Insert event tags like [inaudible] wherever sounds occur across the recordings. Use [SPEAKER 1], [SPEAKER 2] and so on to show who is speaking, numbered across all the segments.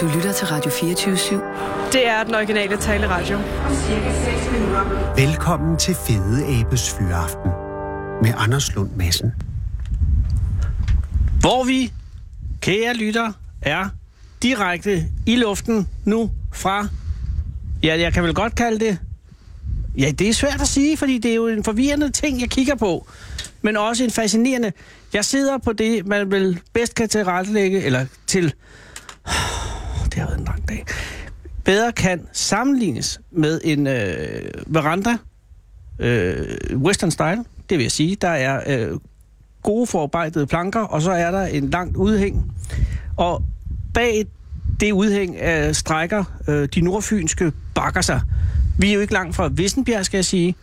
[SPEAKER 1] Du lytter til Radio 24 /7.
[SPEAKER 2] Det er den originale taleradio.
[SPEAKER 3] Velkommen til Fede Abes Fyraften med Anders Lund Madsen.
[SPEAKER 4] Hvor vi, kære lytter, er direkte i luften nu fra... Ja, jeg kan vel godt kalde det... Ja, det er svært at sige, fordi det er jo en forvirrende ting, jeg kigger på. Men også en fascinerende... Jeg sidder på det, man vel bedst kan tilrettelægge, eller til... Det har været en lang dag. Bedre kan sammenlignes med en øh, veranda, øh, western style, det vil jeg sige. Der er øh, gode forarbejdede planker, og så er der en langt udhæng. Og bag det udhæng øh, strækker øh, de nordfynske bakker sig. Vi er jo ikke langt fra Vissenbjerg, skal jeg sige.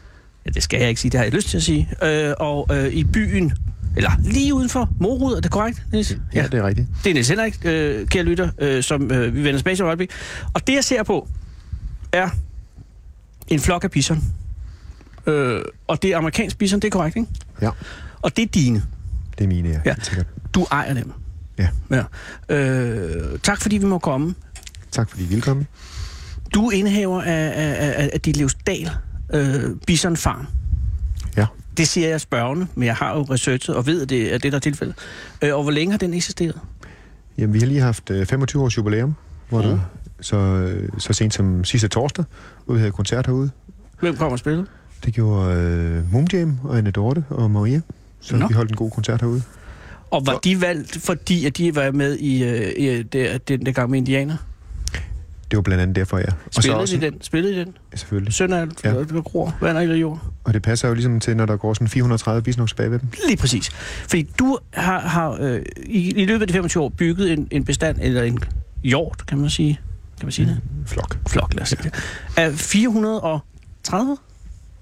[SPEAKER 4] Ja, det skal jeg ikke sige, det har jeg lyst til at sige. Øh, og øh, i byen, eller lige uden for Morud, er det korrekt, Niels?
[SPEAKER 5] Ja, det er rigtigt.
[SPEAKER 4] Det er Niels Henrik, øh, kære lytter, øh, som øh, vi vender tilbage til i et øjeblik. Og det, jeg ser på, er en flok af bison. Øh, og det er amerikansk bison, det er korrekt, ikke?
[SPEAKER 5] Ja,
[SPEAKER 4] Og det er dine.
[SPEAKER 5] det er mine, ja.
[SPEAKER 4] Ja.
[SPEAKER 5] ja. Sikkert.
[SPEAKER 4] Du ejer dem.
[SPEAKER 5] Ja,
[SPEAKER 4] Ja. Øh, tak fordi vi må komme.
[SPEAKER 5] tak fordi I ville komme.
[SPEAKER 4] Du er indhaver af, af, af, af dit livsdal, øh, Bison Farm.
[SPEAKER 5] Ja.
[SPEAKER 4] Det siger jeg spørgende, men jeg har jo researchet og ved, at det er det, der er tilfældet. Øh, og hvor længe har den eksisteret?
[SPEAKER 5] Jamen, vi har lige haft øh, 25 års jubilæum, hvor mm. så, øh, så sent som sidste torsdag, hvor vi havde koncert herude.
[SPEAKER 4] Hvem kommer og spiller?
[SPEAKER 5] Det gjorde øh, Moon Jam og Anne Dorte og Maria. Så
[SPEAKER 4] Nå.
[SPEAKER 5] Nå. vi holdt en god koncert herude.
[SPEAKER 4] Og var de valgt, fordi at de var med i, øh, i det, den der gang med indianer?
[SPEAKER 5] Det var blandt andet derfor, ja. Og så
[SPEAKER 4] Spillede,
[SPEAKER 5] også,
[SPEAKER 4] de den? Spillede de den?
[SPEAKER 5] Selvfølgelig.
[SPEAKER 4] Sønder alt,
[SPEAKER 5] Ja.
[SPEAKER 4] ja. gror, vand eller jord?
[SPEAKER 5] Og det passer jo ligesom til, når der går sådan 430 bisnoks bag ved dem.
[SPEAKER 4] Lige præcis. Fordi du har, har øh, i, i løbet af de 25 år bygget en, en bestand, eller en hjort, kan man sige. Kan man sige det?
[SPEAKER 5] Flok.
[SPEAKER 4] Flok, lad os sige det. Af 430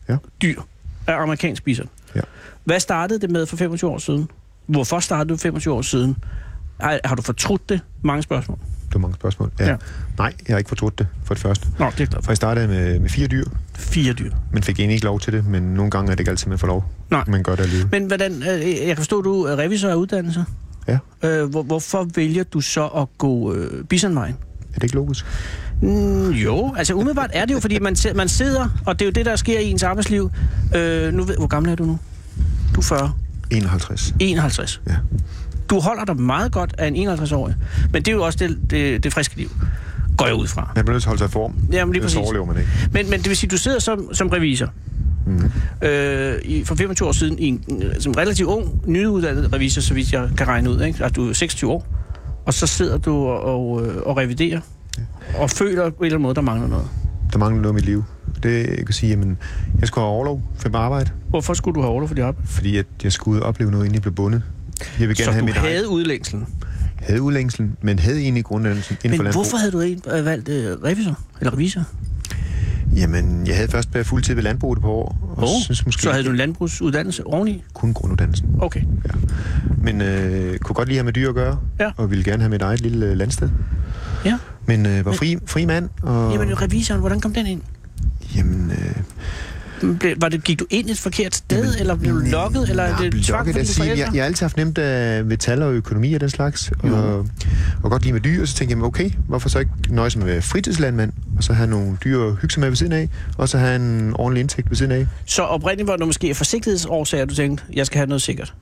[SPEAKER 5] Ja.
[SPEAKER 4] dyr af amerikansk bison.
[SPEAKER 5] Ja.
[SPEAKER 4] Hvad startede det med for 25 år siden? Hvorfor startede du 25 år siden? Har, har du fortrudt det? Mange spørgsmål.
[SPEAKER 5] Det var mange spørgsmål. Ja.
[SPEAKER 4] Ja.
[SPEAKER 5] ja. Nej, jeg har ikke fortrudt det for det første.
[SPEAKER 4] Nå, det er klart.
[SPEAKER 5] For jeg startede med, med fire dyr,
[SPEAKER 4] Fire dyr.
[SPEAKER 5] men fik egentlig ikke lov til det. Men nogle gange er det ikke altid, man får lov.
[SPEAKER 4] Nej.
[SPEAKER 5] Man gør det alligevel.
[SPEAKER 4] Men hvordan, øh, jeg kan forstå, at du er revisor af uddannelse.
[SPEAKER 5] Ja.
[SPEAKER 4] Øh, hvor, hvorfor vælger du så at gå øh, bisonvejen?
[SPEAKER 5] Er det ikke logisk?
[SPEAKER 4] Mm, jo, altså umiddelbart er det jo, fordi man, si- man sidder, og det er jo det, der sker i ens arbejdsliv. Øh, nu ved, hvor gammel er du nu? Du er 40.
[SPEAKER 5] 51.
[SPEAKER 4] 51.
[SPEAKER 5] Ja.
[SPEAKER 4] Du holder dig meget godt af en 51-årig. Men det er jo også det, det, det friske liv, går jeg ud fra.
[SPEAKER 5] Man bliver nødt til at holde sig i form.
[SPEAKER 4] Jamen, lige
[SPEAKER 5] Ellers
[SPEAKER 4] præcis.
[SPEAKER 5] overlever man ikke.
[SPEAKER 4] Men, men det vil sige, du sidder som, som revisor. Mm. Øh, i, for 25 år siden, i en, øh, som relativt ung, nyuddannet revisor, så vidt jeg kan regne ud. Ikke? Altså, du er 26 år, og så sidder du og, og, øh, og reviderer, og føler på en eller anden måde, der mangler noget.
[SPEAKER 5] Der mangler noget i mit liv. Det jeg kan sige, jamen, jeg skulle have overlov for på arbejde,
[SPEAKER 4] Hvorfor skulle du have overlov for dit arbejde?
[SPEAKER 5] fordi at jeg skulle ud og opleve noget, inden jeg blev bundet. Jeg vil gerne
[SPEAKER 4] Så
[SPEAKER 5] have
[SPEAKER 4] du
[SPEAKER 5] mit eget.
[SPEAKER 4] havde udlængselen.
[SPEAKER 5] Havde udlængselen, men havde egentlig grundlæggelsen inden for
[SPEAKER 4] Men
[SPEAKER 5] landbrug.
[SPEAKER 4] hvorfor havde du ikke øh, valgt øh, revisor? Eller revisor?
[SPEAKER 5] Jamen, jeg havde først været fuldtid ved landbruget på år, og
[SPEAKER 4] Oh,
[SPEAKER 5] synes måske
[SPEAKER 4] så havde du en
[SPEAKER 5] ikke
[SPEAKER 4] landbrugsuddannelse oveni?
[SPEAKER 5] kun grunduddannelsen.
[SPEAKER 4] Okay.
[SPEAKER 5] Ja. Men øh, kunne godt lige have med dyr at gøre,
[SPEAKER 4] Ja.
[SPEAKER 5] og ville gerne have mit eget lille øh, landsted.
[SPEAKER 4] Ja.
[SPEAKER 5] Men øh, var fri, fri mand, og
[SPEAKER 4] Jamen, revisoren, hvordan kom den ind?
[SPEAKER 5] jamen øh,
[SPEAKER 4] Ble- Var det, gik du ind et forkert sted, Jamen, eller blev du lokket, eller er
[SPEAKER 5] Jeg
[SPEAKER 4] det tvang for dine
[SPEAKER 5] sige, jeg,
[SPEAKER 4] forældre?
[SPEAKER 5] jeg har altid haft nemt af metal og økonomi og den slags, og, og godt lide med dyr, og så tænkte jeg, men okay, hvorfor så ikke nøjes med at være fritidslandmand, og så have nogle dyr at hygge sig med ved siden af, og så have en ordentlig indtægt ved siden af.
[SPEAKER 4] Så oprindeligt var det måske af forsigtighedsårsager, du tænkte, jeg skal have noget sikkert.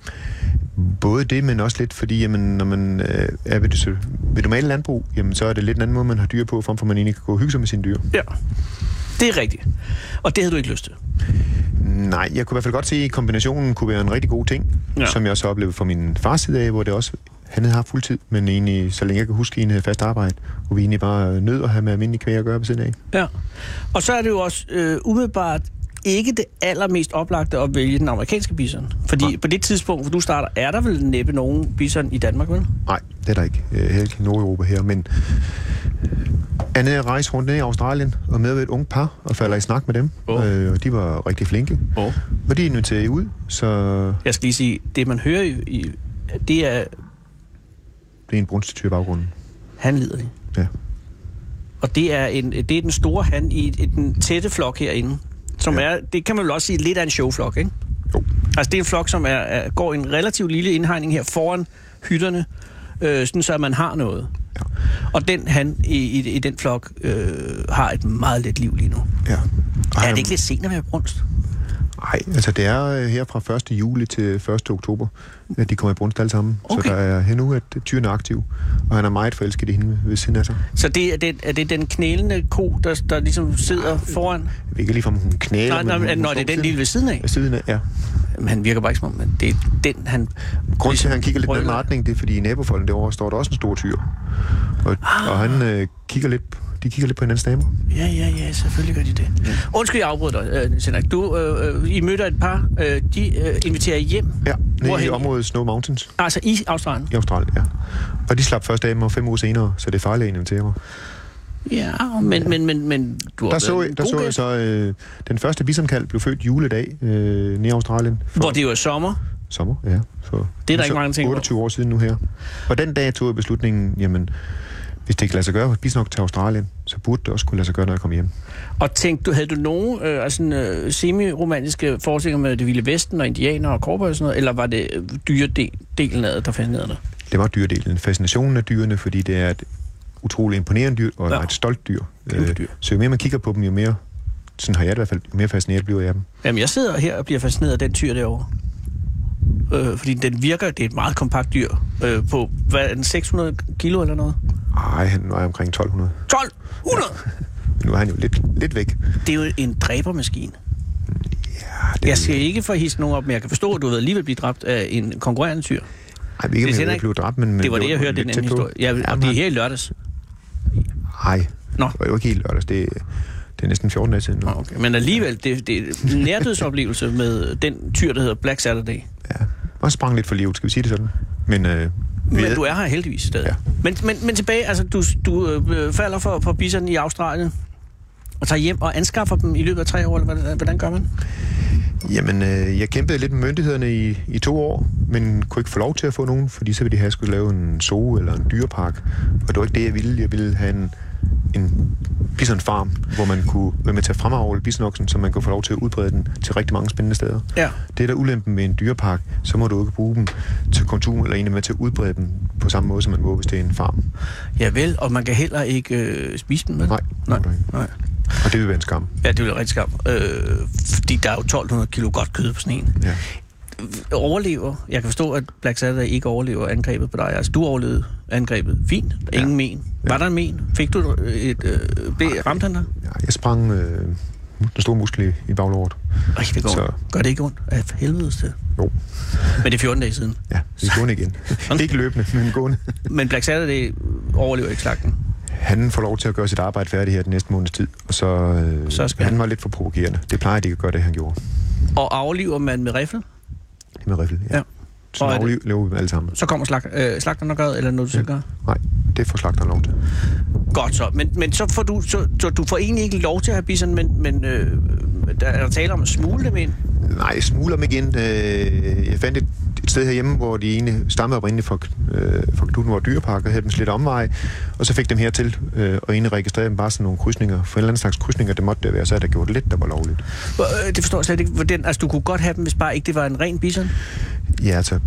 [SPEAKER 5] Både det, men også lidt, fordi jamen, når man øh, er ved, det, så- ved normale landbrug, jamen, så er det lidt en anden måde, man har dyr på, frem for at man egentlig kan gå og hygge sig med sine dyr.
[SPEAKER 4] Ja. Det er rigtigt. Og det havde du ikke lyst til.
[SPEAKER 5] Nej, jeg kunne i hvert fald godt se, at kombinationen kunne være en rigtig god ting,
[SPEAKER 4] Ja.
[SPEAKER 5] ja. som jeg også oplevede fra min fars side af, hvor det også, han havde haft fuldtid, men egentlig, så længe jeg kan huske, en havde fast arbejde, og vi egentlig bare øh, nød at have med almindelig kvæg at gøre på siden af.
[SPEAKER 4] Ja. Og så er det jo også øh, umiddelbart ikke det allermest oplagte at vælge den amerikanske bison. Fordi Nej. på det tidspunkt, hvor du starter, er der vel næppe nogen bison i Danmark, vel?
[SPEAKER 5] Nej, det er der ikke. Øh, Heller ikke i Nordeuropa her, men øh, andet at rejse rundt ned i Australien og med et ungt par og falder i snak med dem.
[SPEAKER 4] Åh.
[SPEAKER 5] Øh, og de var rigtig flinke.
[SPEAKER 4] Åh.
[SPEAKER 5] Og de inviterede ud, så
[SPEAKER 4] Jeg skal lige sige, det man hører i, i det er,
[SPEAKER 5] det er en brunstetyr i baggrunden.
[SPEAKER 4] han lider det.
[SPEAKER 5] Ja.
[SPEAKER 4] Og det er, en, det er den store han i, i den tætte flok herinde, som ja.
[SPEAKER 5] Ja.
[SPEAKER 4] er, det kan man vel også sige, lidt af en showflok, ikke?
[SPEAKER 5] Jo.
[SPEAKER 4] Altså det er en flok, som er, er, går i en relativt lille indhegning her foran hytterne, øh, sådan så at man har noget.
[SPEAKER 5] Ja.
[SPEAKER 4] Og den han i, i, i den flok øh, har et meget let liv lige nu.
[SPEAKER 5] Ja.
[SPEAKER 4] Ej, er det ikke lidt senere med brunst?
[SPEAKER 5] Nej, altså det er øh, her fra 1. juli til 1. oktober, at de kommer i brunst alle sammen.
[SPEAKER 4] Okay.
[SPEAKER 5] Så der er her nu, at tyren er aktiv, og han er meget forelsket i hende ved siden af sig.
[SPEAKER 4] Så det, er, det, er det den knælende ko, der, der ligesom sidder foran?
[SPEAKER 5] Jeg ved ikke lige, om hun knæler,
[SPEAKER 4] Nej, nej,
[SPEAKER 5] hun,
[SPEAKER 4] nej,
[SPEAKER 5] hun
[SPEAKER 4] nej,
[SPEAKER 5] står
[SPEAKER 4] det er den
[SPEAKER 5] ved
[SPEAKER 4] lille ved siden af.
[SPEAKER 5] af siden af, ja.
[SPEAKER 4] Jamen, han virker bare ikke som om, men det er den, han... ligesom
[SPEAKER 5] Grunden til, at han kigger lidt i den
[SPEAKER 4] rykker.
[SPEAKER 5] retning, det er, fordi i nabofolden derovre står der også en stor tyr. Og, ah. og han øh, kigger lidt, de kigger lidt på hinandens damer.
[SPEAKER 4] Ja, ja, ja, selvfølgelig gør de det. Undskyld, jeg afbryder dig, øh, Niels Henrik. Du, øh, øh, I mødte et par, øh, de øh, inviterer hjem.
[SPEAKER 5] Ja, nede i
[SPEAKER 4] Hvorhen?
[SPEAKER 5] området Snow Mountains
[SPEAKER 4] Altså i Australien.
[SPEAKER 5] i Australien, ja. Og de slap først af mig fem uger senere, så det er farligt at invitere mig.
[SPEAKER 4] Ja, men, men, men, men du
[SPEAKER 5] Der
[SPEAKER 4] har været
[SPEAKER 5] så,
[SPEAKER 4] en
[SPEAKER 5] jeg- der
[SPEAKER 4] god
[SPEAKER 5] så jeg
[SPEAKER 4] gæst,
[SPEAKER 5] så, øh, den første bisomkald blev født juledag øh, nede i Australien. For
[SPEAKER 4] Hvor det jo er sommer.
[SPEAKER 5] Sommer, ja. For
[SPEAKER 4] Det er der ikke mange, der tænker på.
[SPEAKER 5] 28 år siden nu her. Og den dag tog jeg beslutningen, jamen, hvis det ikke lader sig gøre, hvis nok til Australien, så burde det også kunne lade sig gøre, når jeg kommer hjem.
[SPEAKER 4] Og tænkte du, havde du nogen øh, altså, sådan, øh, semi-romantiske forestillinger med det vilde vesten og indianer og korporer og sådan noget, eller var det øh, dyredelen af det, der fascinerede dig?
[SPEAKER 5] Det var dyredelen. Fascinationen af dyrene, fordi det er et utroligt imponerende dyr, og et
[SPEAKER 4] Ja.
[SPEAKER 5] ja. meget stolt dyr.
[SPEAKER 4] Kæmpe
[SPEAKER 5] Øh,
[SPEAKER 4] dyr.
[SPEAKER 5] Så jo mere man kigger på dem, jo mere, sådan har jeg det i hvert fald, jo mere fascineret bliver jeg af dem.
[SPEAKER 4] Jamen, jeg sidder her og bliver fascineret af den tyr derovre. Øh, fordi den virker, det er et meget kompakt dyr, øh, på hvad, er den 600 kilo eller noget.
[SPEAKER 5] Ej, han var omkring 1200.
[SPEAKER 4] 1200!
[SPEAKER 5] Men nu er han jo lidt, lidt væk.
[SPEAKER 4] Det er jo en dræbermaskine.
[SPEAKER 5] Ja, det
[SPEAKER 4] Jeg skal ikke få hisse nogen op, men jeg kan forstå, at du ved alligevel blive dræbt af en konkurrerende tyr.
[SPEAKER 5] Ej, vi ikke,
[SPEAKER 4] Hvis
[SPEAKER 5] om
[SPEAKER 4] Henrik-
[SPEAKER 5] jeg blev dræbt, men... men
[SPEAKER 4] det var det, jeg hørte i
[SPEAKER 5] lidt
[SPEAKER 4] den anden
[SPEAKER 5] tæt på.
[SPEAKER 4] historie. Ja, og
[SPEAKER 5] Jamen,
[SPEAKER 4] det er
[SPEAKER 5] han-
[SPEAKER 4] her i lørdags.
[SPEAKER 5] Ej,
[SPEAKER 4] Nå.
[SPEAKER 5] det var jo ikke helt lørdags. Det, det er næsten 14 dage siden nu.
[SPEAKER 4] Nå, okay. Men alligevel, det, det er en nærdødsoplevelse med den tyr, der hedder Black Saturday.
[SPEAKER 5] Ja. Og sprang lidt for livet, skal vi sige det sådan. Men, øh,
[SPEAKER 4] Men du er her heldigvis stadig. Ja.
[SPEAKER 5] Ja.
[SPEAKER 4] Men, men, men tilbage, altså du, du øh, falder for, for biserne i Australien og tager hjem og anskaffer dem i løbet af tre år, eller hvordan, hvordan gør man?
[SPEAKER 5] Jamen, øh, jeg kæmpede lidt med myndighederne i, i to år, men kunne ikke få lov til at få nogen, fordi så ville de have skulle lave en zoo eller en dyrepark. Og det var ikke det, jeg ville. Jeg ville have en, en bisonfarm, hvor man kunne være med til at fremavle bisonoksen, så man kunne få lov til at udbrede den til rigtig mange spændende steder.
[SPEAKER 4] Ja.
[SPEAKER 5] Det er der ulempen ved en dyrepark, så må du ikke bruge dem til konsum eller en med til at udbrede dem på samme måde, som man må, hvis det er en farm.
[SPEAKER 4] Ja vel, og man kan heller ikke øh, spise dem, vel?
[SPEAKER 5] Nej,
[SPEAKER 4] Nej.
[SPEAKER 5] det må du ikke.
[SPEAKER 4] Nej.
[SPEAKER 5] Og det vil være en skam.
[SPEAKER 4] Ja, det ville rigtig skam. Øh, fordi der er jo 1200 kilo godt kød på sådan en.
[SPEAKER 5] Ja.
[SPEAKER 4] Overlever. Jeg kan forstå, at Black Saturday ikke overlever angrebet på dig. Altså, du overlevede angrebet. Fint. Ingen ja. men. Var der en men? Fik du et... Øh, blev, ramte han dig?
[SPEAKER 5] Ja, Jeg sprang øh, den store muskel i, i baglåret.
[SPEAKER 4] Ej, det går,
[SPEAKER 5] Så-
[SPEAKER 4] så... gør det ikke ondt? Af helvedes til.
[SPEAKER 5] Jo.
[SPEAKER 4] Men det er 14 dage siden.
[SPEAKER 5] Ja, det er gående igen. [laughs] ikke løbende, men gående.
[SPEAKER 4] Men Black Saturday overlever ikke slagten.
[SPEAKER 5] Han får lov til at gøre sit arbejde færdigt her den næste måneds tid, og så, øh,
[SPEAKER 4] Så
[SPEAKER 5] så
[SPEAKER 4] skal
[SPEAKER 5] skal
[SPEAKER 4] han-
[SPEAKER 5] han var lidt for provokerende. Det plejer de ikke at gøre, det han gjorde.
[SPEAKER 4] Og afliver man med riffel,
[SPEAKER 5] Det med riffel, ja.
[SPEAKER 4] Ja.
[SPEAKER 5] ja. Så
[SPEAKER 4] Og er det-
[SPEAKER 5] afliv lever vi dem alle sammen.
[SPEAKER 4] så kommer slag, øh, slagteren og gør, det, eller noget, du selv gør.
[SPEAKER 5] Nej, det får slagteren lov til.
[SPEAKER 4] Godt så. Men, men så, får du, så, så du får egentlig ikke lov til at have bison, men, men øh, der er tale om at smule dem ind.
[SPEAKER 5] Nej, jeg smugler dem igen. Øh, jeg fandt et, et sted herhjemme, hvor de egentlig stammede oprindeligt fra, øh, fra Knuttenborg Dyrepark, og havde dem slet omvej, og så fik dem hertil, øh, og egentlig registrerede dem bare som nogle krydsninger. For en eller anden slags krydsninger, det måtte det være, så havde der gjort lidt, der var lovligt.
[SPEAKER 4] Hvor, øh, Det forstår jeg slet ikke. Hvordan, altså, du kunne godt have dem, hvis bare ikke det var en ren bison.
[SPEAKER 5] Ja, altså,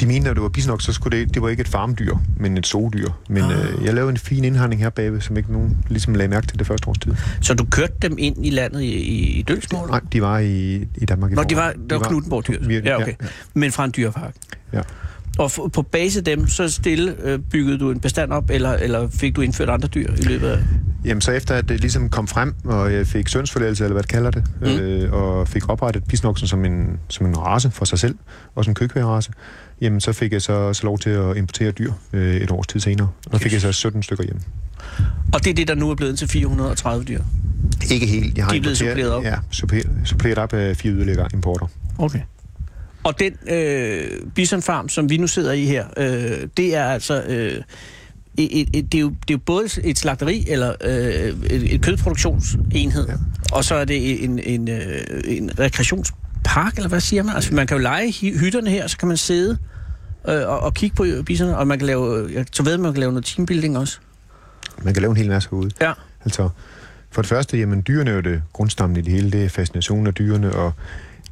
[SPEAKER 5] de mente, at det var bisnok, så skulle det, det var ikke et farmdyr, men et zoodyr. Men ah. øh, jeg lavede en fin indhandling her bagved, som ikke nogen ligesom lagde mærke til det første års tid.
[SPEAKER 4] Så du kørte dem ind i landet i, i, i Dølsmål?
[SPEAKER 5] Nej, de var i, i Danmark i
[SPEAKER 4] Nå, de var,
[SPEAKER 5] forvejen.
[SPEAKER 4] der var Knuttenborg dyr.
[SPEAKER 5] virkelig,
[SPEAKER 4] Ja, okay.
[SPEAKER 5] Ja,
[SPEAKER 4] Men fra en dyrepark.
[SPEAKER 5] ja.
[SPEAKER 4] Og f- på base af dem, så stille øh, byggede du en bestand op, eller, eller fik du indført andre dyr i løbet af...
[SPEAKER 5] Jamen, så efter at det ligesom kom frem, og jeg fik sønsforlægelse, eller hvad det kalder det,
[SPEAKER 4] Mm.
[SPEAKER 5] mm. øh, og fik oprettet bisnoksen som en, som en race for sig selv, og som køkvægerrace, jamen, så fik jeg så, så lov til at importere dyr øh, et års tid senere. Og fik jeg så 17 stykker hjem.
[SPEAKER 4] Og det er det, der nu er blevet til 430 dyr.
[SPEAKER 5] Ikke helt. Jeg har
[SPEAKER 4] De er blevet
[SPEAKER 5] importeret-
[SPEAKER 4] suppleret op.
[SPEAKER 5] Ja, suppleret, suppleret op af fire yderligere importer.
[SPEAKER 4] Okay. Og den øh, bisonfarm, som vi nu sidder i her, øh, det er altså... Øh, et, et, et, det, er jo, det er jo både et slagteri eller øh, et, et kødproduktionsenhed, ja.
[SPEAKER 5] Ja.
[SPEAKER 4] og så er det en, en, øh, en rekreationspark, eller hvad siger man? Altså, man kan jo lege hy- hytterne her, så kan man sidde øh, og, og kigge på biserne, og man kan lave, øh, jeg så ved, man kan lave noget teambuilding også.
[SPEAKER 5] Man kan lave en hel masse herude.
[SPEAKER 4] Ja.
[SPEAKER 5] Altså, for det første, jamen dyrene er jo det grundstammen i det hele. Det er fascinationen af dyrene og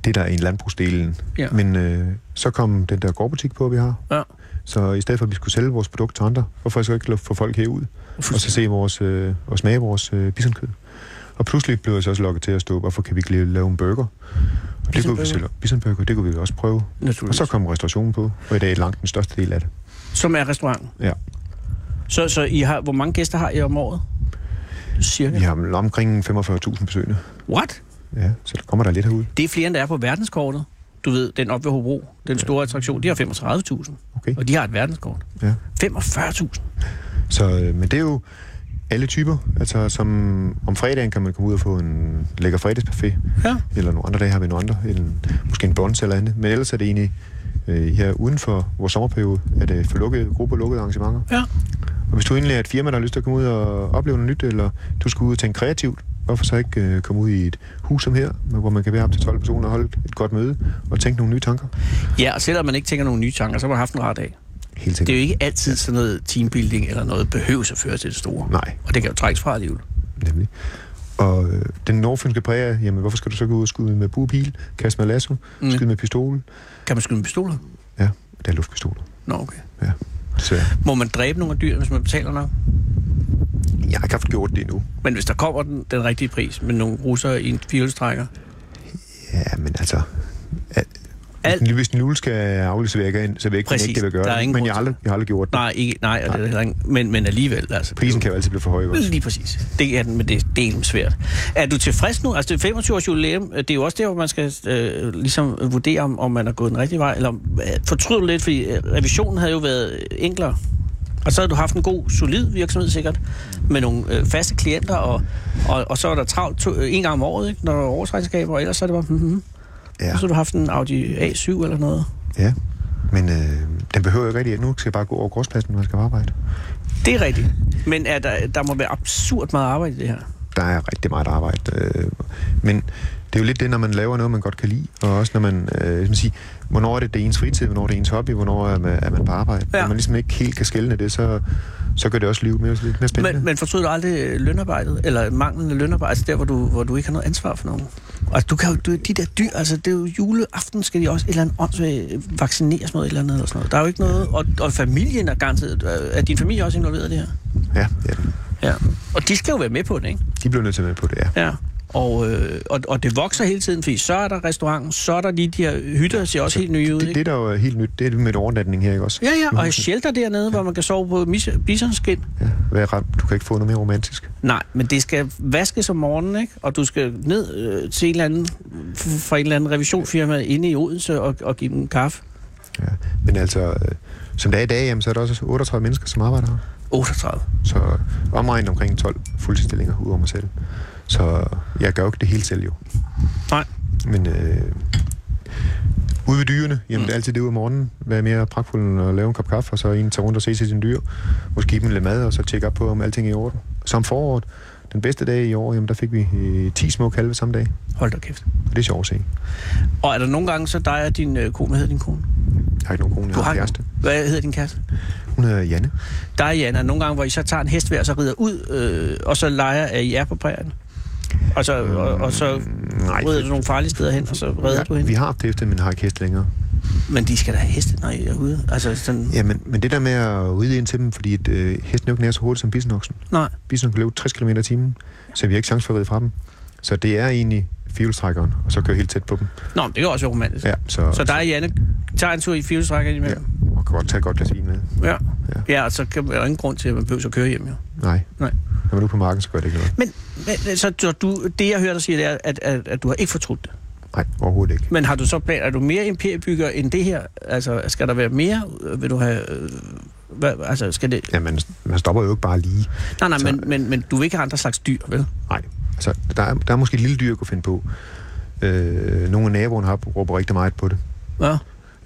[SPEAKER 5] det, der er i landbrugsdelen.
[SPEAKER 4] Ja.
[SPEAKER 5] Men øh, så kom den der gårdbutik på, vi har.
[SPEAKER 4] Ja.
[SPEAKER 5] Så i stedet for, at vi skulle sælge vores produkt til andre, hvorfor så ikke lade- få folk herud, og så se vores, øh, og smage vores øh, bisonkød? Og pludselig blev jeg så også lokket til at stå, hvorfor kan vi ikke lige lave en burger? Og det kunne vi
[SPEAKER 4] Bisonburger?
[SPEAKER 5] selv, bisonburger, det kunne vi også prøve. Og
[SPEAKER 4] Naturligvis.
[SPEAKER 5] så kom restaurationen på, og i dag er langt den største del af det.
[SPEAKER 4] Som er restauranten.
[SPEAKER 5] Ja.
[SPEAKER 4] Så, så I har, hvor mange gæster har I om året? Cirka.
[SPEAKER 5] Vi har omkring 45.000 besøgende.
[SPEAKER 4] What?
[SPEAKER 5] Ja, så der kommer der lidt herude.
[SPEAKER 4] Det er flere, end der er på verdenskortet. Du ved, den oppe ved Hobro, den store attraktion, de har 35.000.
[SPEAKER 5] Okay.
[SPEAKER 4] Og de har et verdenskort.
[SPEAKER 5] Ja.
[SPEAKER 4] 45.000.
[SPEAKER 5] Så, øh, men det er jo alle typer. Altså, som om fredagen kan man komme ud og få en lækker fredagsbuffet.
[SPEAKER 4] Ja.
[SPEAKER 5] Eller nogle andre dage har vi nogle andre. En, måske en brunch eller andet. Men ellers er det egentlig øh, her uden for vores sommerperiode, at øh, for lukkede grupper lukkede arrangementer.
[SPEAKER 4] Ja.
[SPEAKER 5] Og hvis du egentlig er et firma, der har lyst til at komme ud og opleve noget nyt, eller du skal ud og tænke kreativt, hvorfor så ikke øh, komme ud i et hus som her, hvor man kan være op til 12 personer og holde et godt møde og tænke nogle nye tanker?
[SPEAKER 4] Ja, og selvom man ikke tænker nogle nye tanker, så har man haft en rar dag.
[SPEAKER 5] Helt sikkert.
[SPEAKER 4] Det er jo ikke altid sådan noget teambuilding eller noget behøves at føre til det store.
[SPEAKER 5] Nej.
[SPEAKER 4] Og det kan jo trækkes fra alligevel.
[SPEAKER 5] Nemlig. Og øh, den nordfynske præge er, jamen hvorfor skal du så gå ud og skyde med buepil, kaste med lasso,
[SPEAKER 4] Mm.
[SPEAKER 5] mm. skyde med pistol?
[SPEAKER 4] Kan man skyde med pistoler?
[SPEAKER 5] Ja, det er luftpistoler.
[SPEAKER 4] Nå, okay.
[SPEAKER 5] Ja, desværre.
[SPEAKER 4] Må man dræbe nogle af dyrene, hvis man betaler nok?
[SPEAKER 5] Jeg har ikke haft gjort det endnu.
[SPEAKER 4] Men hvis der kommer den, den rigtige pris med nogle russere i en firehjulstrækker,
[SPEAKER 5] Ja, men altså... Alt. Hvis,
[SPEAKER 4] Alt-
[SPEAKER 5] den, lille- hvis den lule skal afledes, så vil jeg ikke, så vil jeg ikke,
[SPEAKER 4] Præcis.
[SPEAKER 5] ikke det vil gøre
[SPEAKER 4] Der er
[SPEAKER 5] det.
[SPEAKER 4] ingen
[SPEAKER 5] Men jeg
[SPEAKER 4] grund
[SPEAKER 5] har aldrig, jeg har aldrig gjort det.
[SPEAKER 4] Nej, ikke, nej, og det er der heller ikke, men, men alligevel. Altså,
[SPEAKER 5] Prisen kan jo altid blive for høj. ikke også?
[SPEAKER 4] Lige præcis. Det er den, men det er delen svært. Er du tilfreds nu? Altså, det er 25 års jubilæum, det er jo også der, hvor man skal øh, ligesom vurdere, om, om man er gået den rigtige vej, eller om- øh, fortryder du lidt, fordi øh, revisionen havde jo været enklere. Og så havde du haft en god, solid virksomhed sikkert, med nogle øh, faste klienter, og, og, og så er der travlt to, øh, en gang om året, ikke, når der er årsregnskaber, og ellers så er det bare, mm-hmm.
[SPEAKER 5] Ja.
[SPEAKER 4] ja. så har du haft en Audi A7 eller noget.
[SPEAKER 5] ja. Men øh, den behøver jo ikke rigtig. Nu skal jeg bare gå over gårdspladsen, når jeg skal på arbejde.
[SPEAKER 4] Det er rigtigt. Men er der, der må være absurd meget arbejde i det her.
[SPEAKER 5] der er rigtig meget arbejde. Øh, men det er jo lidt det, når man laver noget, man godt kan lide, og også når man, øh, hvis man siger, hvornår er det, det er ens fritid, hvornår er det ens hobby, hvornår er man, er man på arbejde.
[SPEAKER 4] Ja.
[SPEAKER 5] Ja. Når man ligesom ikke helt kan skælne det, så, så gør det også livet mere, lidt mere spændende.
[SPEAKER 4] Men, men fortryder du aldrig øh, lønarbejdet, eller manglen af lønarbejde, altså der, hvor du, hvor du ikke har noget ansvar for nogen? Og du kan jo, du, de der dyr, altså det er jo juleaften, skal de også et eller andet åndssvagt vaccineres mod et eller andet, eller sådan noget. Der er jo ikke noget, og, og familien er garanteret, øh, er din familie også involveret i det her?
[SPEAKER 5] Ja, ja,
[SPEAKER 4] Ja. Og de skal jo være med på det, ikke?
[SPEAKER 5] de bliver nødt til at være med på det, ja.
[SPEAKER 4] Ja. Og, øh, og, og det vokser hele tiden, fordi så er der restauranten, så er der lige de her hytter, ser også helt nye ud,
[SPEAKER 5] Det,
[SPEAKER 4] ikke?
[SPEAKER 5] det, der jo er helt nyt, det er det med overnatning her, ikke også?
[SPEAKER 4] Ja, ja, og shelter dernede, hvor man kan sove på mis- bisonskin.
[SPEAKER 5] Ja. Hvad er ret- Du kan ikke få noget mere romantisk.
[SPEAKER 4] Nej, men det skal vaskes om morgenen, ikke? Og du skal ned øh, til en eller anden, f- fra en eller anden revisionfirma inde i Odense og, og give dem kaffe.
[SPEAKER 5] Ja. Men altså, øh, som det er i dag, jamen, så er der også 38 mennesker, som arbejder her.
[SPEAKER 4] 38.
[SPEAKER 5] Så omregnet omkring 12 fuldtidsstillinger ud over mig selv. Så jeg gør jo ikke det hele selv jo.
[SPEAKER 4] Nej.
[SPEAKER 5] Men øh, ude ved dyrene, jamen mm. det er altid det ude om morgenen. Hvad er mere pragtfuldt end at lave en kop kaffe, og så en tage rundt og se til sine dyr. Måske give dem lidt mad, og så tjekke op på, om alting er i orden. Som foråret, den bedste dag i år, jamen der fik vi øh, 10 små kalve samme dag.
[SPEAKER 4] Hold da kæft.
[SPEAKER 5] Og det er sjovt at se.
[SPEAKER 4] Og er der nogle gange, så dig og din øh, kone, hvad hedder din kone?
[SPEAKER 5] Jeg har ikke nogen kone, jeg
[SPEAKER 4] Du
[SPEAKER 5] har en
[SPEAKER 4] ikke-
[SPEAKER 5] kæreste.
[SPEAKER 4] Hvad hedder din kæreste?
[SPEAKER 5] Hun hedder Janne.
[SPEAKER 4] Der er Jan, er der nogle gange, hvor I så tager en hest ved, og så rider ud, øh, og så leger, at I er på prærien. Og så, og, og så
[SPEAKER 5] Mm, nej.
[SPEAKER 4] rider du nogle farlige steder hen, og så redder ja, du hende.
[SPEAKER 5] vi har haft heste, men har ikke heste længere.
[SPEAKER 4] Men de skal da have heste, når I er ude. Altså sådan,
[SPEAKER 5] Ja, men, men det der med at ride ind til dem, fordi at, øh, hesten er jo ikke nær så hurtigt som bisenoksen.
[SPEAKER 4] nej.
[SPEAKER 5] Bison kan løbe 60 km i timen, så vi har ikke chance for at ride fra dem. Så det er egentlig firehjulstrækkeren, og så kører helt tæt på dem.
[SPEAKER 4] Nå, men det er jo også romantisk.
[SPEAKER 5] Ja, så,
[SPEAKER 4] Så der er Janne, tager en tur i firehjulstrækker
[SPEAKER 5] ja,
[SPEAKER 4] imellem.
[SPEAKER 5] og kan godt tage et godt glas vin med.
[SPEAKER 4] Ja.
[SPEAKER 5] Ja.
[SPEAKER 4] ja. ja, og så kan, er der ingen grund til, at man behøver at køre hjem, jo.
[SPEAKER 5] Nej,
[SPEAKER 4] Nej.
[SPEAKER 5] når man er ude på marken, så gør det ikke noget.
[SPEAKER 4] Men, men så, så du, det, jeg hører dig sige, det er, at, at, at du har ikke fortrudt det.
[SPEAKER 5] Nej, overhovedet ikke.
[SPEAKER 4] Men har du så plan, er du mere imperiebygger end det her? Altså, skal der være mere? Øh, Vil du have... Øh, hvad, altså, skal det...
[SPEAKER 5] Ja, man, man stopper jo ikke bare lige.
[SPEAKER 4] Nej, nej,
[SPEAKER 5] Så-
[SPEAKER 4] men, men, men du vil ikke have andre slags dyr, vel?
[SPEAKER 5] Nej, altså, der er, der er måske et lille dyr, jeg kunne finde på. Øh, nogle af naboerne har råber rigtig meget på det.
[SPEAKER 4] Ja.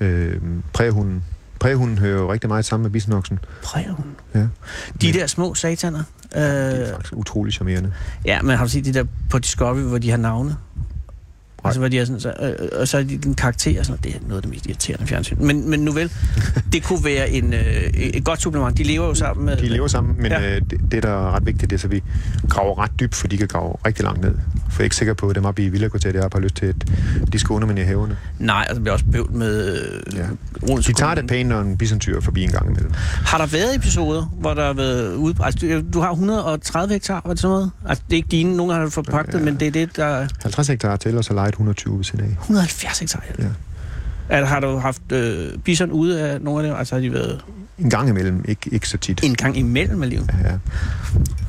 [SPEAKER 5] Øh, præhunden. Præhunden hører jo rigtig meget sammen med bisenoksen.
[SPEAKER 4] Præger hun.
[SPEAKER 5] Ja,
[SPEAKER 4] De der små sataner.
[SPEAKER 5] det er
[SPEAKER 4] Øh,
[SPEAKER 5] faktisk utrolig charmerende.
[SPEAKER 4] ja, men har du set de der på Discovery, hvor de har navne?
[SPEAKER 5] Nej.
[SPEAKER 4] Altså, hvor de er sådan, så, øh, og så er de en karakter, og sådan noget. Det er noget af det mest irriterende fjernsyn. Men, men nu
[SPEAKER 5] [laughs]
[SPEAKER 4] vel, det kunne være en, øh, et godt supplement. De lever jo sammen med...
[SPEAKER 5] De lever sammen, men
[SPEAKER 4] Ja.
[SPEAKER 5] ja. øh, det, det, der er ret vigtigt, det er, så vi graver ret dybt, for de kan grave rigtig langt ned. For jeg er ikke sikker på, at dem oppe i Villakvarteret, jeg har bare lyst til, at de skal underminere haverne.
[SPEAKER 4] Nej, og det bliver også bøvlet med øh,
[SPEAKER 5] Ja.
[SPEAKER 4] ja.
[SPEAKER 5] De tager det pænt, når en bisantyr er forbi en gang imellem.
[SPEAKER 4] Har der været episoder, hvor der har været ude... Altså, du, du har 130 hektar, var det sådan noget? Altså, det er ikke dine, nogen har forpagtet, ja. men det er det, der er
[SPEAKER 5] 50 hektar til, og så lejet 120 ved siden af.
[SPEAKER 4] 170 hektar.
[SPEAKER 5] Ja.
[SPEAKER 4] Altså, har du haft øh, bison ude af nogle af dem? Altså, har de været
[SPEAKER 5] En gang imellem, ikke, ikke så tit.
[SPEAKER 4] en gang imellem alligevel?
[SPEAKER 5] Ja.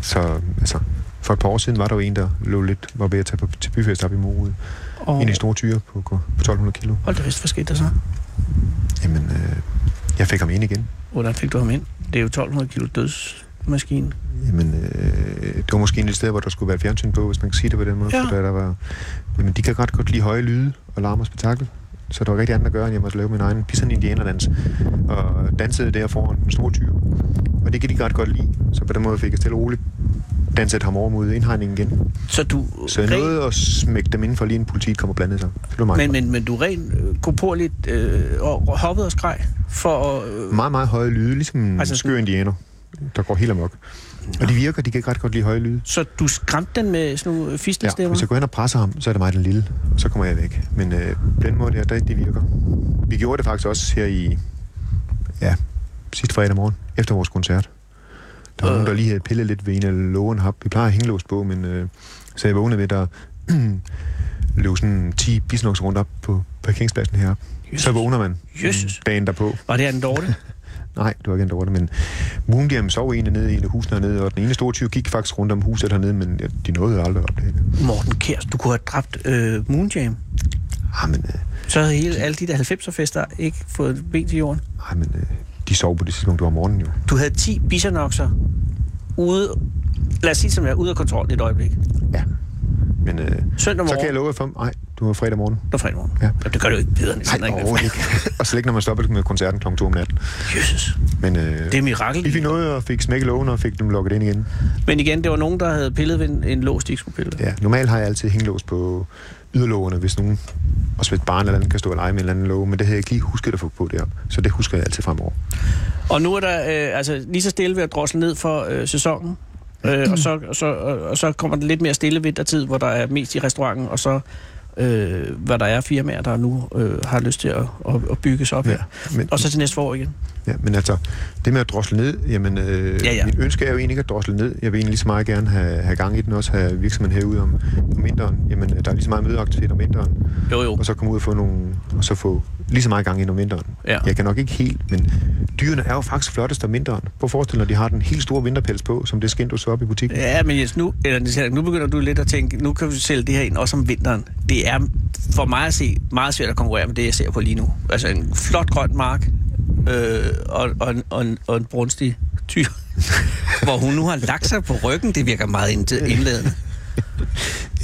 [SPEAKER 5] Så altså, for et par år siden var der jo en, der lå lidt, var ved at tage på, til byfest op i Morud.
[SPEAKER 4] Og...
[SPEAKER 5] Oh. En af de store tyre på, på 1200 kilo.
[SPEAKER 4] Hold da fest, hvad skete der så?
[SPEAKER 5] Jamen, øh, jeg fik ham ind igen.
[SPEAKER 4] Hvordan fik du ham ind? Det er jo 1200 kilo dødsmaskine.
[SPEAKER 5] Jamen, øh, det var måske en af de steder, hvor der skulle være fjernsyn på, hvis man kan sige det på den måde.
[SPEAKER 4] Ja.
[SPEAKER 5] Ja. For da der var, jamen, de kan ret godt lide høje lyde og larm og spektakel. Så der var rigtig andet at gøre, end jeg måtte lave min egen pisan indianerdans. Og dansede der foran en stor tyr. Og det kan de ret godt lide. Så på den måde fik jeg stille og roligt danset ham over mod indhegningen igen.
[SPEAKER 4] Så du...
[SPEAKER 5] Så jeg nåede at smække dem inden for lige en politiet kom og blandede sig. Så det var meget,
[SPEAKER 4] men,
[SPEAKER 5] men,
[SPEAKER 4] men, men du er rent øh, korporligt øh, og hoppede og skreg for at... Øh,
[SPEAKER 5] meget, meget høje lyde, ligesom en
[SPEAKER 4] Altså
[SPEAKER 5] altså,
[SPEAKER 4] sådan-
[SPEAKER 5] skør indianer, der går helt amok. Og de virker, de kan ikke ret godt lide høje lyde.
[SPEAKER 4] så du skræmte den med sådan nogle øh,
[SPEAKER 5] Ja,
[SPEAKER 4] fistelstemmer?
[SPEAKER 5] hvis jeg går hen og presser ham, så er det mig den lille, og så kommer jeg væk. Men øh, på den måde der, der, det virker. Vi gjorde det faktisk også her i, ja, sidste fredag morgen, efter vores koncert. Der var
[SPEAKER 4] Øh.
[SPEAKER 5] øh. nogen, der lige havde pillet lidt ved en af lågen hap. Vi plejer at hænge lås på, men øh, så jeg vågnede ved, der [clears throat] løb sådan 10 bisnoks rundt op på parkeringspladsen heroppe.
[SPEAKER 4] Jesus.
[SPEAKER 5] Så vågner man
[SPEAKER 4] Jesus.
[SPEAKER 5] mm, dagen derpå.
[SPEAKER 4] Var det her den
[SPEAKER 5] [laughs]
[SPEAKER 4] dårlige?
[SPEAKER 5] Nej, det var ikke en dårlig, men Moondiam sov egentlig nede i en af husene hernede, og den ene store tyr gik faktisk rundt om huset hernede, men ja, de nåede aldrig at opdage det.
[SPEAKER 4] Morten Kjærs, du kunne have dræbt øh, Moonjam.
[SPEAKER 5] Ah, men, øh,
[SPEAKER 4] Så havde hele, alle de der 90'er-fester ikke fået et ben til jorden.
[SPEAKER 5] Ej, men øh, de sov på det tidspunkt, det var om morgenen jo.
[SPEAKER 4] Du havde 10 bisonokser ude... Lad os sige, som jeg er ude af kontrol et øjeblik.
[SPEAKER 5] Ja. Men øh,
[SPEAKER 4] Søndag
[SPEAKER 5] så kan jeg
[SPEAKER 4] morgen,
[SPEAKER 5] love jer for, nej, du var fredag morgen.
[SPEAKER 4] og fredag morgen.
[SPEAKER 5] Ja.
[SPEAKER 4] Jamen, det gør det jo ikke bedre, end sådan
[SPEAKER 5] Nej,
[SPEAKER 4] ikke?
[SPEAKER 5] overhovedet ikke. og slet ikke, når man stopper med koncerten kl. 2 om natten.
[SPEAKER 4] Jesus,
[SPEAKER 5] Men øh,
[SPEAKER 4] det er
[SPEAKER 5] vi
[SPEAKER 4] mirakel.
[SPEAKER 5] fik noget og fik smækket lågen og fik dem lukket ind igen.
[SPEAKER 4] Men igen, det var nogen, der havde pillet ved en, en lås, de ikke skulle pille. ved.
[SPEAKER 5] Ja, normalt har jeg altid hænglås på yderlågerne, hvis nogen, også hvis et barn eller andet kan stå og lege med en eller anden låge, men det havde jeg ikke lige husket at få på derop. Så det husker jeg altid fremover.
[SPEAKER 4] Og nu er der øh, altså, lige så stille ved at drosle ned for øh, sæsonen. Øh, og, så, og, så, og, og så kommer den lidt mere stille vintertid, hvor der er mest i restauranten, og så øh, hvad der er firmaer, der nu øh, har lyst til at, at, at bygge sig op ja. her.
[SPEAKER 5] men,
[SPEAKER 4] Og så til næste år igen.
[SPEAKER 5] Ja, men altså, det med at drosle ned, jamen, øh,
[SPEAKER 4] Ja,
[SPEAKER 5] ja,
[SPEAKER 4] ja.
[SPEAKER 5] ja. mit ønske er jo egentlig ikke at drosle ned. Jeg vil egentlig lige så meget gerne have, have gang i den, også have virksomheden herude om, om vinteren. Jamen, øh, der er lige så meget mødeaktivitet om vinteren,
[SPEAKER 4] Jo, jo.
[SPEAKER 5] og så komme ud og få nogle, og så få lige så meget gang ind om vinteren.
[SPEAKER 4] Ja.
[SPEAKER 5] Jeg kan nok ikke helt, men dyrene er jo faktisk flottest om vinteren. Prøv at forestille dig, når de har den helt store vinterpels på, som det skin, du så op i butikken. Ja.
[SPEAKER 4] Ja, men Jens, nu, eller, Niels Henrik, nu begynder du lidt at tænke, nu kan vi sælge det her ind, også om vinteren. Det er for mig at se meget svært at konkurrere med det, jeg ser på lige nu. Altså en flot grøn mark øh, og, og, en- og, en, og en brunstig tyr, [laughs] hvor hun nu har lagt sig på ryggen. Det virker meget ind- indledende.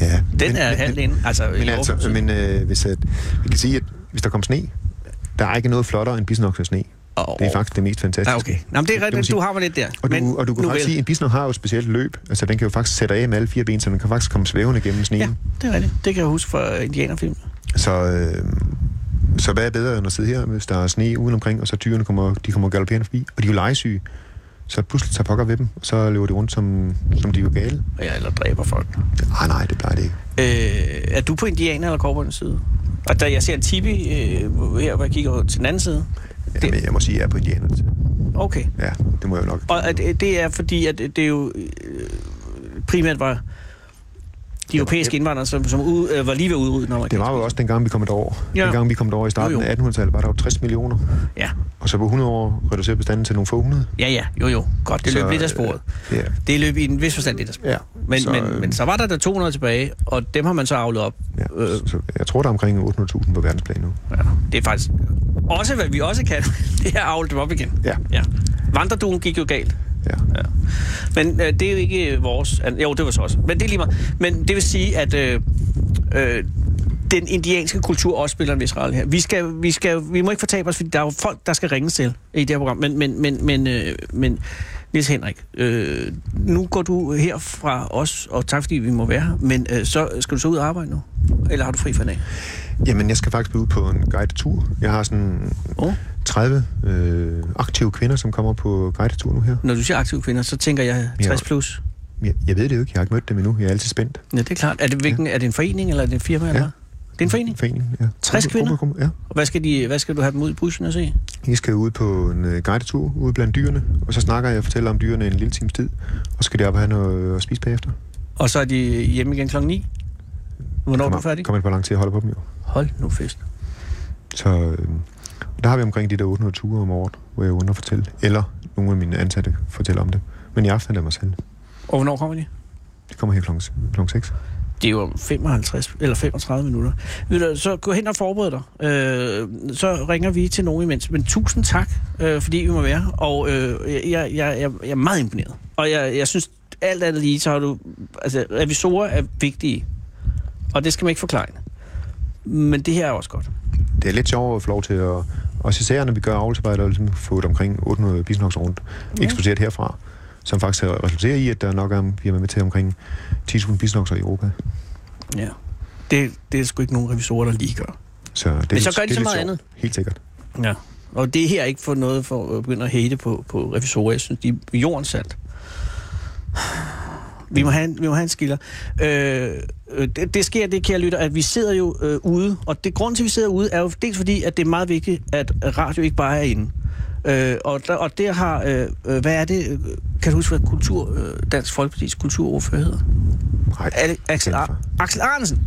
[SPEAKER 5] ja.
[SPEAKER 4] Den er halvt ind. Altså,
[SPEAKER 5] Men,
[SPEAKER 4] i
[SPEAKER 5] altså,
[SPEAKER 4] overførsel.
[SPEAKER 5] men øh, hvis at, vi kan sige, at hvis der kom sne, der er ikke noget flottere end bisnokser sne.
[SPEAKER 4] Åh.
[SPEAKER 5] Det er faktisk det mest fantastiske.
[SPEAKER 4] Nej, Ah, okay. Nå, men det
[SPEAKER 5] Det
[SPEAKER 4] er
[SPEAKER 5] må man
[SPEAKER 4] rigtigt,
[SPEAKER 5] sige.
[SPEAKER 4] du har mig lidt der.
[SPEAKER 5] Og du,
[SPEAKER 4] men,
[SPEAKER 5] men, og du kan
[SPEAKER 4] nu
[SPEAKER 5] faktisk
[SPEAKER 4] vel.
[SPEAKER 5] sige, at en bisnok har jo et specielt løb. Altså, den kan jo faktisk sætte af med alle fire ben, så den kan faktisk komme svævende gennem sneen.
[SPEAKER 4] Ja,
[SPEAKER 5] Ja.
[SPEAKER 4] det er rigtigt. Det kan jeg huske fra indianerfilm.
[SPEAKER 5] Så, øh, så hvad er bedre end at sidde her, hvis der er sne uden omkring, og så dyrene kommer, de kommer galopperende forbi, og de er jo legesyge. Så pludselig tager pokker ved dem, og så løber de rundt, som, som de er jo gale.
[SPEAKER 4] Ja, eller dræber folk.
[SPEAKER 5] Nej, nej, det plejer det ikke.
[SPEAKER 4] Øh, er du på indianer- eller korporens side? Og da jeg ser en tibi øh, her, hvor jeg kigger over til den anden side. Det-
[SPEAKER 5] Jamen, jeg må sige, at jeg er på indianerne.
[SPEAKER 4] Okay.
[SPEAKER 5] Ja, det må jeg jo nok.
[SPEAKER 4] Og at, øh, det er fordi, at det er jo øh, primært var de europæiske indvandrere, som, som ude, øh, var lige ved at udrydde den
[SPEAKER 5] Det
[SPEAKER 4] amerikanske.
[SPEAKER 5] var jo også dengang, vi kom derover.
[SPEAKER 4] Ja.
[SPEAKER 5] Ja. Dengang vi kom derover i starten
[SPEAKER 4] Jo, jo.
[SPEAKER 5] af 1800-tallet, var der jo 60 millioner.
[SPEAKER 4] Ja.
[SPEAKER 5] Og så på 100 år reducerede bestanden til nogle få hundrede.
[SPEAKER 4] ja, ja, jo jo. Godt, det løb
[SPEAKER 5] Så,
[SPEAKER 4] lidt af sporet.
[SPEAKER 5] øh, ja.
[SPEAKER 4] Det løb i en vis forstand lidt af sporet.
[SPEAKER 5] Ja,
[SPEAKER 4] Men,
[SPEAKER 5] så,
[SPEAKER 4] men,
[SPEAKER 5] øh,
[SPEAKER 4] men så var der der 200 tilbage, og dem har man så avlet op.
[SPEAKER 5] Ja,
[SPEAKER 4] Øh,
[SPEAKER 5] øh. så jeg tror, der er omkring 800.000 på verdensplan nu.
[SPEAKER 4] ja. Det er faktisk også, hvad vi også kan. [laughs] Det er at avle dem op igen.
[SPEAKER 5] Ja.
[SPEAKER 4] ja. Vandreduen gik jo galt.
[SPEAKER 5] Ja.
[SPEAKER 4] Ja. Men øh, det er jo ikke øh, vores... an- Jo, det var så også. Men det er lige meget. Men det vil sige, at øh, øh, den indianske kultur også spiller en vis rolle her. Vi, skal, vi, skal, vi må ikke fortabe os, fordi der er jo folk, der skal ringe til i det her program. Men, men, men, men, øh, men Niels Henrik, øh, nu går du her fra os, og tak fordi vi må være her, men øh, så skal du så ud og arbejde nu? Eller har du fri for i dag?
[SPEAKER 5] Jamen, jeg skal faktisk ud på en guidetur. Jeg har sådan
[SPEAKER 4] Oh.
[SPEAKER 5] 30 øh, aktive kvinder, som kommer på guidetur nu her.
[SPEAKER 4] Når du siger aktive kvinder, så tænker jeg 60 plus.
[SPEAKER 5] Jeg, jeg ved det jo ikke. Jeg har ikke mødt dem endnu. Jeg er altid spændt.
[SPEAKER 4] Ja, det er klart. Er det, hvilken, er det en forening, eller er det en firma? Ja. Eller? hvad? Det er en forening.
[SPEAKER 5] Foreningen, ja.
[SPEAKER 4] 60
[SPEAKER 5] Gruppe-
[SPEAKER 4] kvinder?
[SPEAKER 5] gruppe- gruppe- Ja.
[SPEAKER 4] Og hvad skal, de, hvad skal du have dem ud i bussen og se?
[SPEAKER 5] Jeg skal ud på en øh, guidetur ude blandt dyrene, og så snakker jeg og fortæller om dyrene en lille times tid, og så skal de op og have noget at spise bagefter.
[SPEAKER 4] Og så er de hjemme igen klokken 9? Hvornår er du færdig?
[SPEAKER 5] Kommer et par lang til at holde på dem jo.
[SPEAKER 4] Hold nu fest.
[SPEAKER 5] Så øh, der har vi omkring de der 800 ture om året, hvor jeg under fortælle, eller nogle af mine ansatte fortæller om det. Men i aften er det mig selv.
[SPEAKER 4] Og hvornår kommer de?
[SPEAKER 5] Det kommer her klokken, klokken 6.
[SPEAKER 4] Det er jo om 55 eller 35 minutter. Ved du, så gå hen og forbered dig. Øh, så ringer vi til nogen imens. Men tusind tak, øh, fordi vi må være. Og øh, jeg, jeg, jeg, jeg er meget imponeret. Og jeg, jeg synes, alt andet lige, så har du... Altså, revisorer er vigtige. Og det skal man ikke forklare. Men det her er også godt.
[SPEAKER 5] Det er lidt sjovt at få lov til at... Også især, når vi gør avlsarbejde og ligesom få et omkring 800 bisnoks rundt, ja. eksporteret herfra, som faktisk har resulteret i, at der nok er, vi er med til omkring 10.000 bisnokser i Europa.
[SPEAKER 4] Ja. Det, det er sgu ikke nogen revisorer, der lige gør.
[SPEAKER 5] Så det er
[SPEAKER 4] Men så
[SPEAKER 5] lidt-
[SPEAKER 4] gør de
[SPEAKER 5] det er lidt
[SPEAKER 4] så meget
[SPEAKER 5] sjovt.
[SPEAKER 4] andet.
[SPEAKER 5] Helt sikkert.
[SPEAKER 4] Ja. Og det her er ikke for noget for at begynde at hate på, på revisorer. Jeg synes, de er jordens salt. Vi må have en, vi må have en skiller. Øh, øh, det, det sker, det kære lytter, at vi sidder jo øh, ude, og det grund til, at vi sidder ude, er jo dels fordi, at det er meget vigtigt, at radio ikke bare er inde. Øh, og, der, og der har, øh, øh, hvad er det, øh, kan du huske, hvad kultur, øh, Dansk Folkeparti's kulturordfører hedder?
[SPEAKER 5] Nej,
[SPEAKER 4] Ale- Axel, Ar- Axel Arnsen.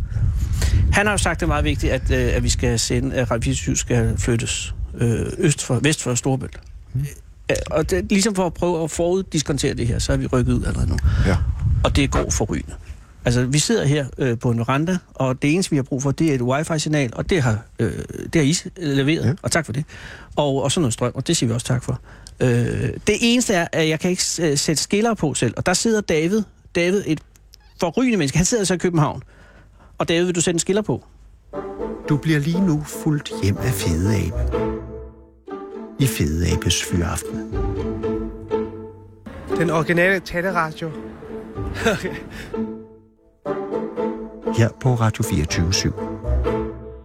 [SPEAKER 4] Han har jo sagt, det er meget vigtigt, at, øh, at vi skal sende, at Radio 24 skal flyttes øh, øst for, vest for Storbælt. Øh, Og det, ligesom for at prøve at foruddiskontere det her, så er vi rykket ud allerede nu.
[SPEAKER 5] Ja.
[SPEAKER 4] Og det går forrygende. Altså, vi sidder her øh, på en veranda, og det eneste, vi har brug for, det er et wifi-signal, og det har, øh, det har I s- leveret, ja.
[SPEAKER 5] Ja.
[SPEAKER 4] og tak for det. Og, og så noget strøm, og det siger vi også tak for. Øh, det eneste er, at jeg kan ikke s- øh, sætte skiller på selv, og der sidder David, David, et forrygende menneske, han sidder så i København. Og David, vil du sætte en skiller på?
[SPEAKER 3] Du bliver lige nu fuldt hjem af Fede Abe. I Fede Abes Fyraften.
[SPEAKER 6] Den originale taleradio.
[SPEAKER 3] Her på Radio 24 /7.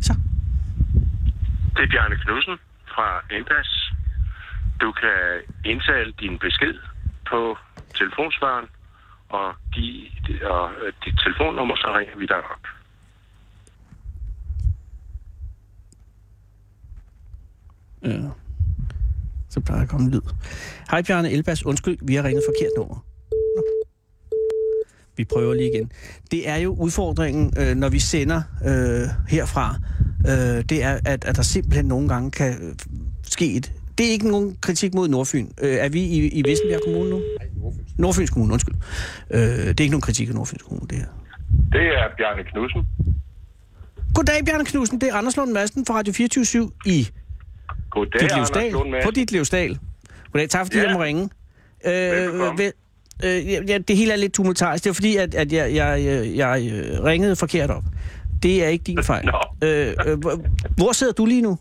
[SPEAKER 4] Så.
[SPEAKER 7] Det er Bjarne Knudsen fra Endas. Du kan indtale din besked på telefonsvaren og give og øh, dit telefonnummer, så ringer vi dig op.
[SPEAKER 4] Ja. Så plejer der at komme en lyd. Hej Bjarne Elbas, undskyld, vi har ringet forkert nummer. Nå. Vi prøver lige igen. Det er jo udfordringen, øh, når vi sender øh, herfra. Øh, det er, at, at der simpelthen nogle gange kan øh, ske et... Det er ikke nogen kritik mod Nordfyn. Øh, er vi i, i Vestenbjerg Kommune nu? Nej, Nordfyns. Nordfyns Kommune, undskyld. Øh, det er ikke nogen kritik af Nordfyns Kommune, det her.
[SPEAKER 7] Det er Bjarne Knudsen.
[SPEAKER 4] Goddag, Bjarne Knudsen. Det er Anders Lund Madsen fra Radio 24 i
[SPEAKER 7] Goddag,
[SPEAKER 4] dit
[SPEAKER 7] Anders
[SPEAKER 4] livsdal.
[SPEAKER 7] Lund
[SPEAKER 4] På
[SPEAKER 7] Madsen.
[SPEAKER 4] dit livsdal. Goddag, tak fordi ja.
[SPEAKER 7] Ja.
[SPEAKER 4] jeg må ringe. Øh,
[SPEAKER 7] Velbekomme.
[SPEAKER 4] vel- øh, ja, ja, det hele er lidt tumultarisk. Det er fordi, at, at jeg, jeg, jeg, jeg øh, ringede forkert op. Det er ikke
[SPEAKER 7] [laughs]
[SPEAKER 4] din fejl.
[SPEAKER 7] Nå.
[SPEAKER 4] Øh, øh, hvor- hvor sidder du lige nu?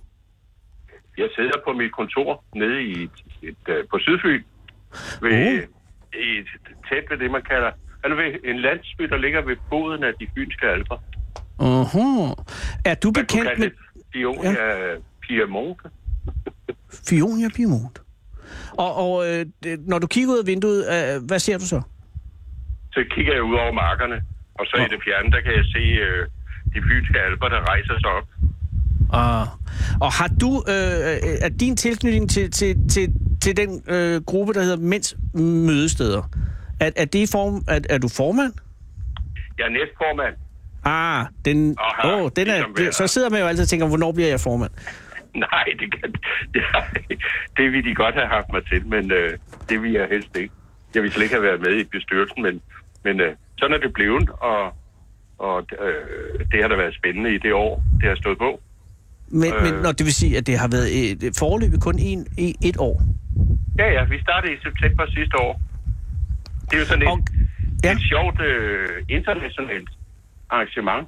[SPEAKER 7] Jeg sidder på mit kontor nede i et, et, øh, på Sydfyn. Ved,
[SPEAKER 4] Uh.
[SPEAKER 7] i et, tæt ved det, man kalder eller ved en landsby, der ligger ved foden af de fynske alper.
[SPEAKER 4] Aha. Er du
[SPEAKER 7] Man kunne
[SPEAKER 4] bekendt
[SPEAKER 7] kalde
[SPEAKER 4] med
[SPEAKER 7] det Pionia ja. Piemonte.
[SPEAKER 4] Fionia Piemont? Og, og øh, det- når du kigger ud af vinduet, øh, hvad ser du så?
[SPEAKER 7] så kigger jeg ud over markerne, og så i det fjerne, der kan jeg se øh, de fynske alber, der rejser sig op.
[SPEAKER 4] Og, Ah. og har du, øh, øh, er din tilknytning til, til, til, til den øh, gruppe, der hedder Mænds Mødesteder, er, er, det i form, er, er du formand?
[SPEAKER 7] Jeg er næstformand. [laughs]
[SPEAKER 4] Ah, den,
[SPEAKER 7] Aha,
[SPEAKER 4] åh, den er,
[SPEAKER 7] ligesom vi er.
[SPEAKER 4] så sidder man jo altid og tænker, hvornår bliver jeg formand?
[SPEAKER 7] Nej, det, kan, [laughs] det, det ville de godt have haft mig til, men øh, det ville jeg helst ikke. Jeg ville slet ikke have været med i bestyrelsen, men, men øh, sådan er det blevet, og, og øh, det har da været spændende i det år, det har stået på.
[SPEAKER 4] Men, øh. men
[SPEAKER 7] Øh.
[SPEAKER 4] når det vil sige, at det har været et, et forløbet kun en, i et år.
[SPEAKER 7] Ja, ja, vi startede i september sidste år. Det er jo sådan et,
[SPEAKER 4] Og-
[SPEAKER 7] og,
[SPEAKER 4] ja.
[SPEAKER 7] ja. et sjovt øh, internationalt arrangement,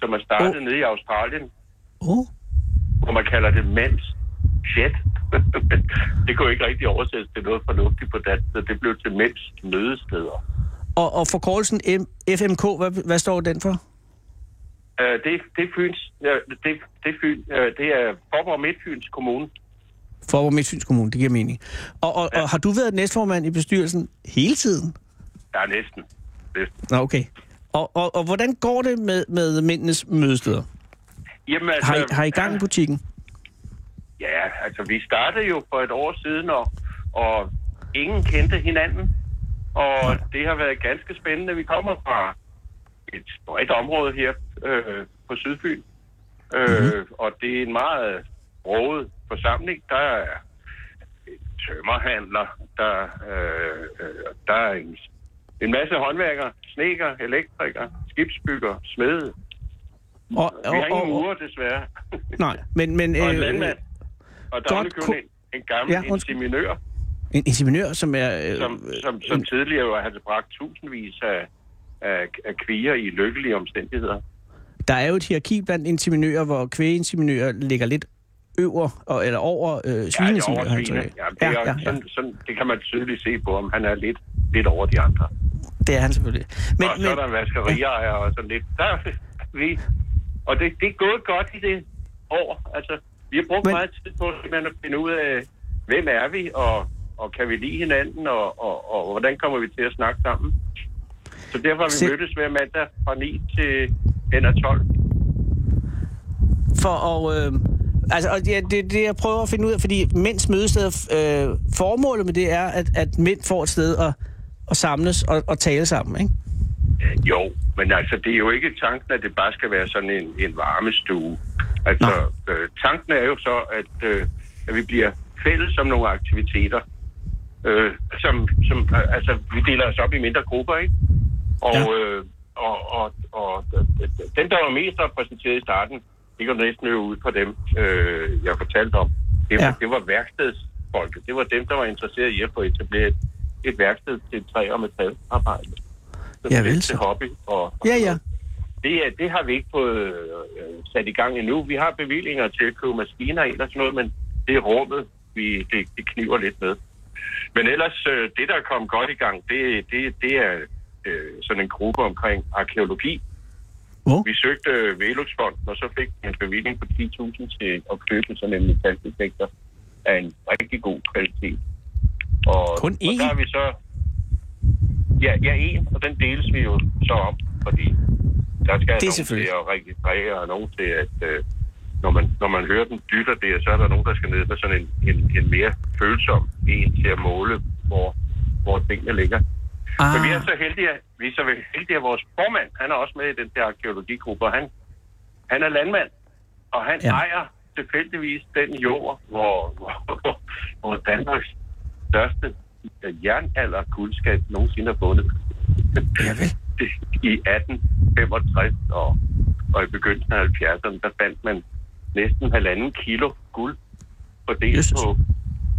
[SPEAKER 7] som er startet
[SPEAKER 4] Oh.
[SPEAKER 7] oh. nede i Australien.
[SPEAKER 4] Oh.
[SPEAKER 7] hvor man kalder det mens [laughs] chat. Men det kunne ikke rigtig oversættes til noget fornuftigt på dansk, så det blev til mens mødesteder.
[SPEAKER 4] Og, og forkortelsen M- FMK, hvad, hvad står den for?
[SPEAKER 7] Øh, det, det er Fyns, ja, det, det, er Fyn, øh, det er Forborg Midtfyns Kommune.
[SPEAKER 4] Forborg Midtfyns Kommune, det giver mening. Og, og, og har du været næstformand i bestyrelsen hele tiden?
[SPEAKER 7] Ja, næsten. næsten.
[SPEAKER 4] Nå, okay. Og, og, og hvordan går det med, med mændenes mødesteder?
[SPEAKER 7] Jamen, altså-
[SPEAKER 4] Har I, har I gang i butikken?
[SPEAKER 7] Ja, altså vi startede jo for et år siden, og, og ingen kendte hinanden. Og det har været ganske spændende. Vi kommer fra et bredt område her øh, på Sydfyn. Øh,
[SPEAKER 4] Mhm.
[SPEAKER 7] mm-hmm. Og det er en meget broget forsamling. Der er tømmerhandler, der, øh, øh, der er en, en masse håndværkere, sneker, elektrikere, skibsbygger, smede.
[SPEAKER 4] Og,
[SPEAKER 7] Vi har ingen murer, desværre.
[SPEAKER 4] nej, men... men
[SPEAKER 7] og en
[SPEAKER 4] øh,
[SPEAKER 7] landmand. Og der
[SPEAKER 4] godt
[SPEAKER 7] er kun en, en gammel
[SPEAKER 4] Ja,
[SPEAKER 7] ja,
[SPEAKER 4] undskyld.
[SPEAKER 7] inseminør,
[SPEAKER 4] En ingeniør, som er... Øh,
[SPEAKER 7] som, som, som tidligere havde bragt tusindvis af, af, af kviger i lykkelige omstændigheder.
[SPEAKER 4] Der er jo et hierarki blandt inseminører, hvor kvægeinseminører ligger lidt øver, og, eller over øh,
[SPEAKER 7] Ja, det, er
[SPEAKER 4] svineinseminører. har jeg
[SPEAKER 7] oversvigende.
[SPEAKER 4] indtryk
[SPEAKER 7] ja,
[SPEAKER 4] af.
[SPEAKER 7] det, er, ja, ja. Sådan, sådan, det kan man tydeligt se på, om han er lidt, lidt over de andre.
[SPEAKER 4] det er han selvfølgelig. Men,
[SPEAKER 7] Men, og så
[SPEAKER 4] men,
[SPEAKER 7] er der vaskerier og sådan lidt. Der, er vi, og det, det er gået godt i det år. Altså, vi har brugt
[SPEAKER 4] Men-
[SPEAKER 7] men, meget tid på simpelthen at finde ud af, hvem er vi, og, og kan vi lide hinanden, og, og, og hvordan kommer vi til at snakke sammen. Så derfor har vi
[SPEAKER 4] Se-
[SPEAKER 7] mødtes hver mandag fra 9 til hen ad 12.
[SPEAKER 4] for at... Øh, altså, og ja, det er det, jeg prøver at finde ud af, fordi mænds mødesteder, øh, formålet med det er, at, at mænd får et sted at, at samles og, og tale sammen, ikke?
[SPEAKER 7] Jo, men altså, det er jo ikke tanken, at det bare skal være sådan en, en varmestue. Altså, øh, tanken er jo så, at, øh, at vi bliver fælles om nogle aktiviteter, øh, som, som øh, altså, vi deler os op i mindre grupper, ikke? Og,
[SPEAKER 4] Ja.
[SPEAKER 7] ja. øh, og, og, og d- d- d- den, der var mest repræsenteret i starten, det går næsten jo ud på dem, øh, jeg fortalte om. Det,
[SPEAKER 4] Ja.
[SPEAKER 7] ja. det var værkstedsfolket. Det var dem, der var interesseret i at få etableret et værksted til træ- og metalarbejde. Så
[SPEAKER 4] Ja, vel
[SPEAKER 7] det
[SPEAKER 4] så.
[SPEAKER 7] til hobby. Og, og
[SPEAKER 4] Ja, ja.
[SPEAKER 7] det, er- det har vi ikke fået øh, sat i gang endnu. Vi har bevillinger til at købe maskiner ind og sådan noget, men det er rummet, vi, det, det kniver lidt med. Men ellers, øh, det der kom godt i gang, det, det, det er øh, sådan en gruppe omkring arkeologi.
[SPEAKER 4] Hvor?
[SPEAKER 7] Vi søgte øh, Veluxfonden, og så fik vi en bevilling på 10.000 til at købe sådan en metaldetektor af en rigtig god kvalitet. Og,
[SPEAKER 4] Kun
[SPEAKER 7] og
[SPEAKER 4] én?
[SPEAKER 7] der har vi så... Ja, ja, en, og den deles vi jo så op, fordi der
[SPEAKER 4] Det er
[SPEAKER 7] skal det nogen til
[SPEAKER 4] selvfølgelig.
[SPEAKER 7] at registrere, og nogen til at... Øh, når man, når man hører dem dytter det, så er der nogen, der skal ned med sådan en, en, en mere følsom en til at måle, hvor, hvor tingene ligger. Ah. Men vi er så heldige, at- vi er så heldige, at vores formand, han er også med i den der arkeologigruppe, og han, han er landmand, og han
[SPEAKER 4] Ja.
[SPEAKER 7] ja. ejer tilfældigvis den jord, hvor, hvor, hvor Danmarks største jernalder guldskab nogensinde er fundet.
[SPEAKER 4] Ja, vel.
[SPEAKER 7] Det- I 1865 og, og i begyndelsen af 70'erne, der fandt man næsten halvanden kilo guld fordelt
[SPEAKER 4] Jesus.
[SPEAKER 7] Jesus. på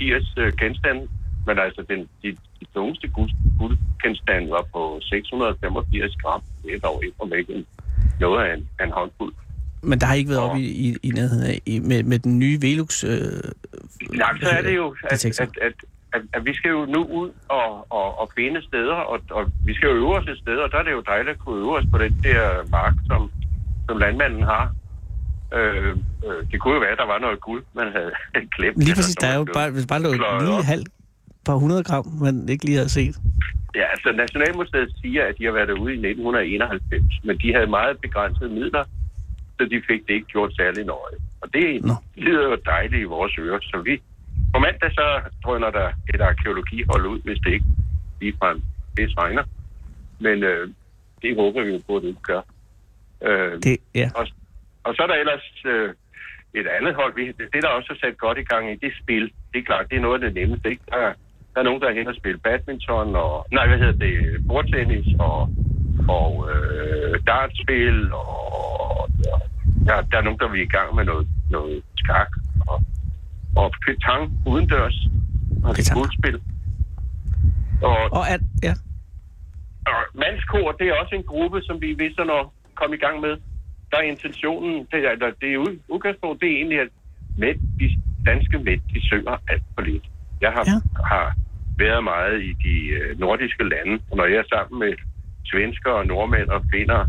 [SPEAKER 7] 80 øh, genstande. Men altså, den, de, de tungeste guld, guldgenstande var på 685 gram. Det er dog ikke for mig noget af en, af en håndfuld.
[SPEAKER 4] Men der har I ikke været
[SPEAKER 7] Og-
[SPEAKER 4] oppe i, i, i nærheden af, i, med, med den nye Velux... Øh,
[SPEAKER 7] Nej, men så er det jo, at,
[SPEAKER 4] detektor.
[SPEAKER 7] at, at, at, at vi skal jo nu ud og, og, og finde steder, og, og vi skal jo øve os et sted, og der er det jo dejligt at kunne øve os på den der mark, som, som landmanden har. Øh, øh, det kunne jo være, at der var noget guld, man havde [laughs] glemt.
[SPEAKER 4] Lige
[SPEAKER 7] eller
[SPEAKER 4] præcis,
[SPEAKER 7] som
[SPEAKER 4] der er
[SPEAKER 7] man
[SPEAKER 4] jo
[SPEAKER 7] blev
[SPEAKER 4] bare, hvis bare lå
[SPEAKER 7] pløjet
[SPEAKER 4] lige
[SPEAKER 7] op.
[SPEAKER 4] halv par 100 gram, man ikke lige havde set.
[SPEAKER 7] Ja, altså Nationalmuseet siger, at de har været derude i 1991, men de havde meget begrænsede midler, så de fik det ikke gjort særlig nøje. Og det
[SPEAKER 4] Nå.
[SPEAKER 7] lyder jo dejligt i vores ører, så vi på mandag så drøner der et arkeologihold ud, hvis det ikke ligefrem det regner. Men øh, det håber vi jo på, at det ikke gør. Øh,
[SPEAKER 4] Det, ja.
[SPEAKER 7] og, og så er der ellers øh, et andet hold. Vi, det, det, der også er sat godt i gang i, det er spil. Det er klart, det er noget af det nemmeste. Ikke? Der, er- der er nogen, der er henne og spille badminton, og, nej, hvad hedder det, bordtennis, og, og øh, dartspil, og ja, der, der er nogen, der vil i gang med noget, noget skak, og, og petang udendørs, og
[SPEAKER 4] Petanque.
[SPEAKER 7] skuldspil. Og,
[SPEAKER 4] Og at, ja.
[SPEAKER 7] og mandskor, det er også en gruppe, som vi vil sådan at komme i gang med. Der er intentionen, det er, eller det er ud, udgangspunkt, det er egentlig, at mænd, de danske mænd, de synger alt for lidt. Jeg har,
[SPEAKER 4] Ja.
[SPEAKER 7] ja. har været meget i de øh, nordiske lande. Og når jeg er sammen med svensker og nordmænd og finder,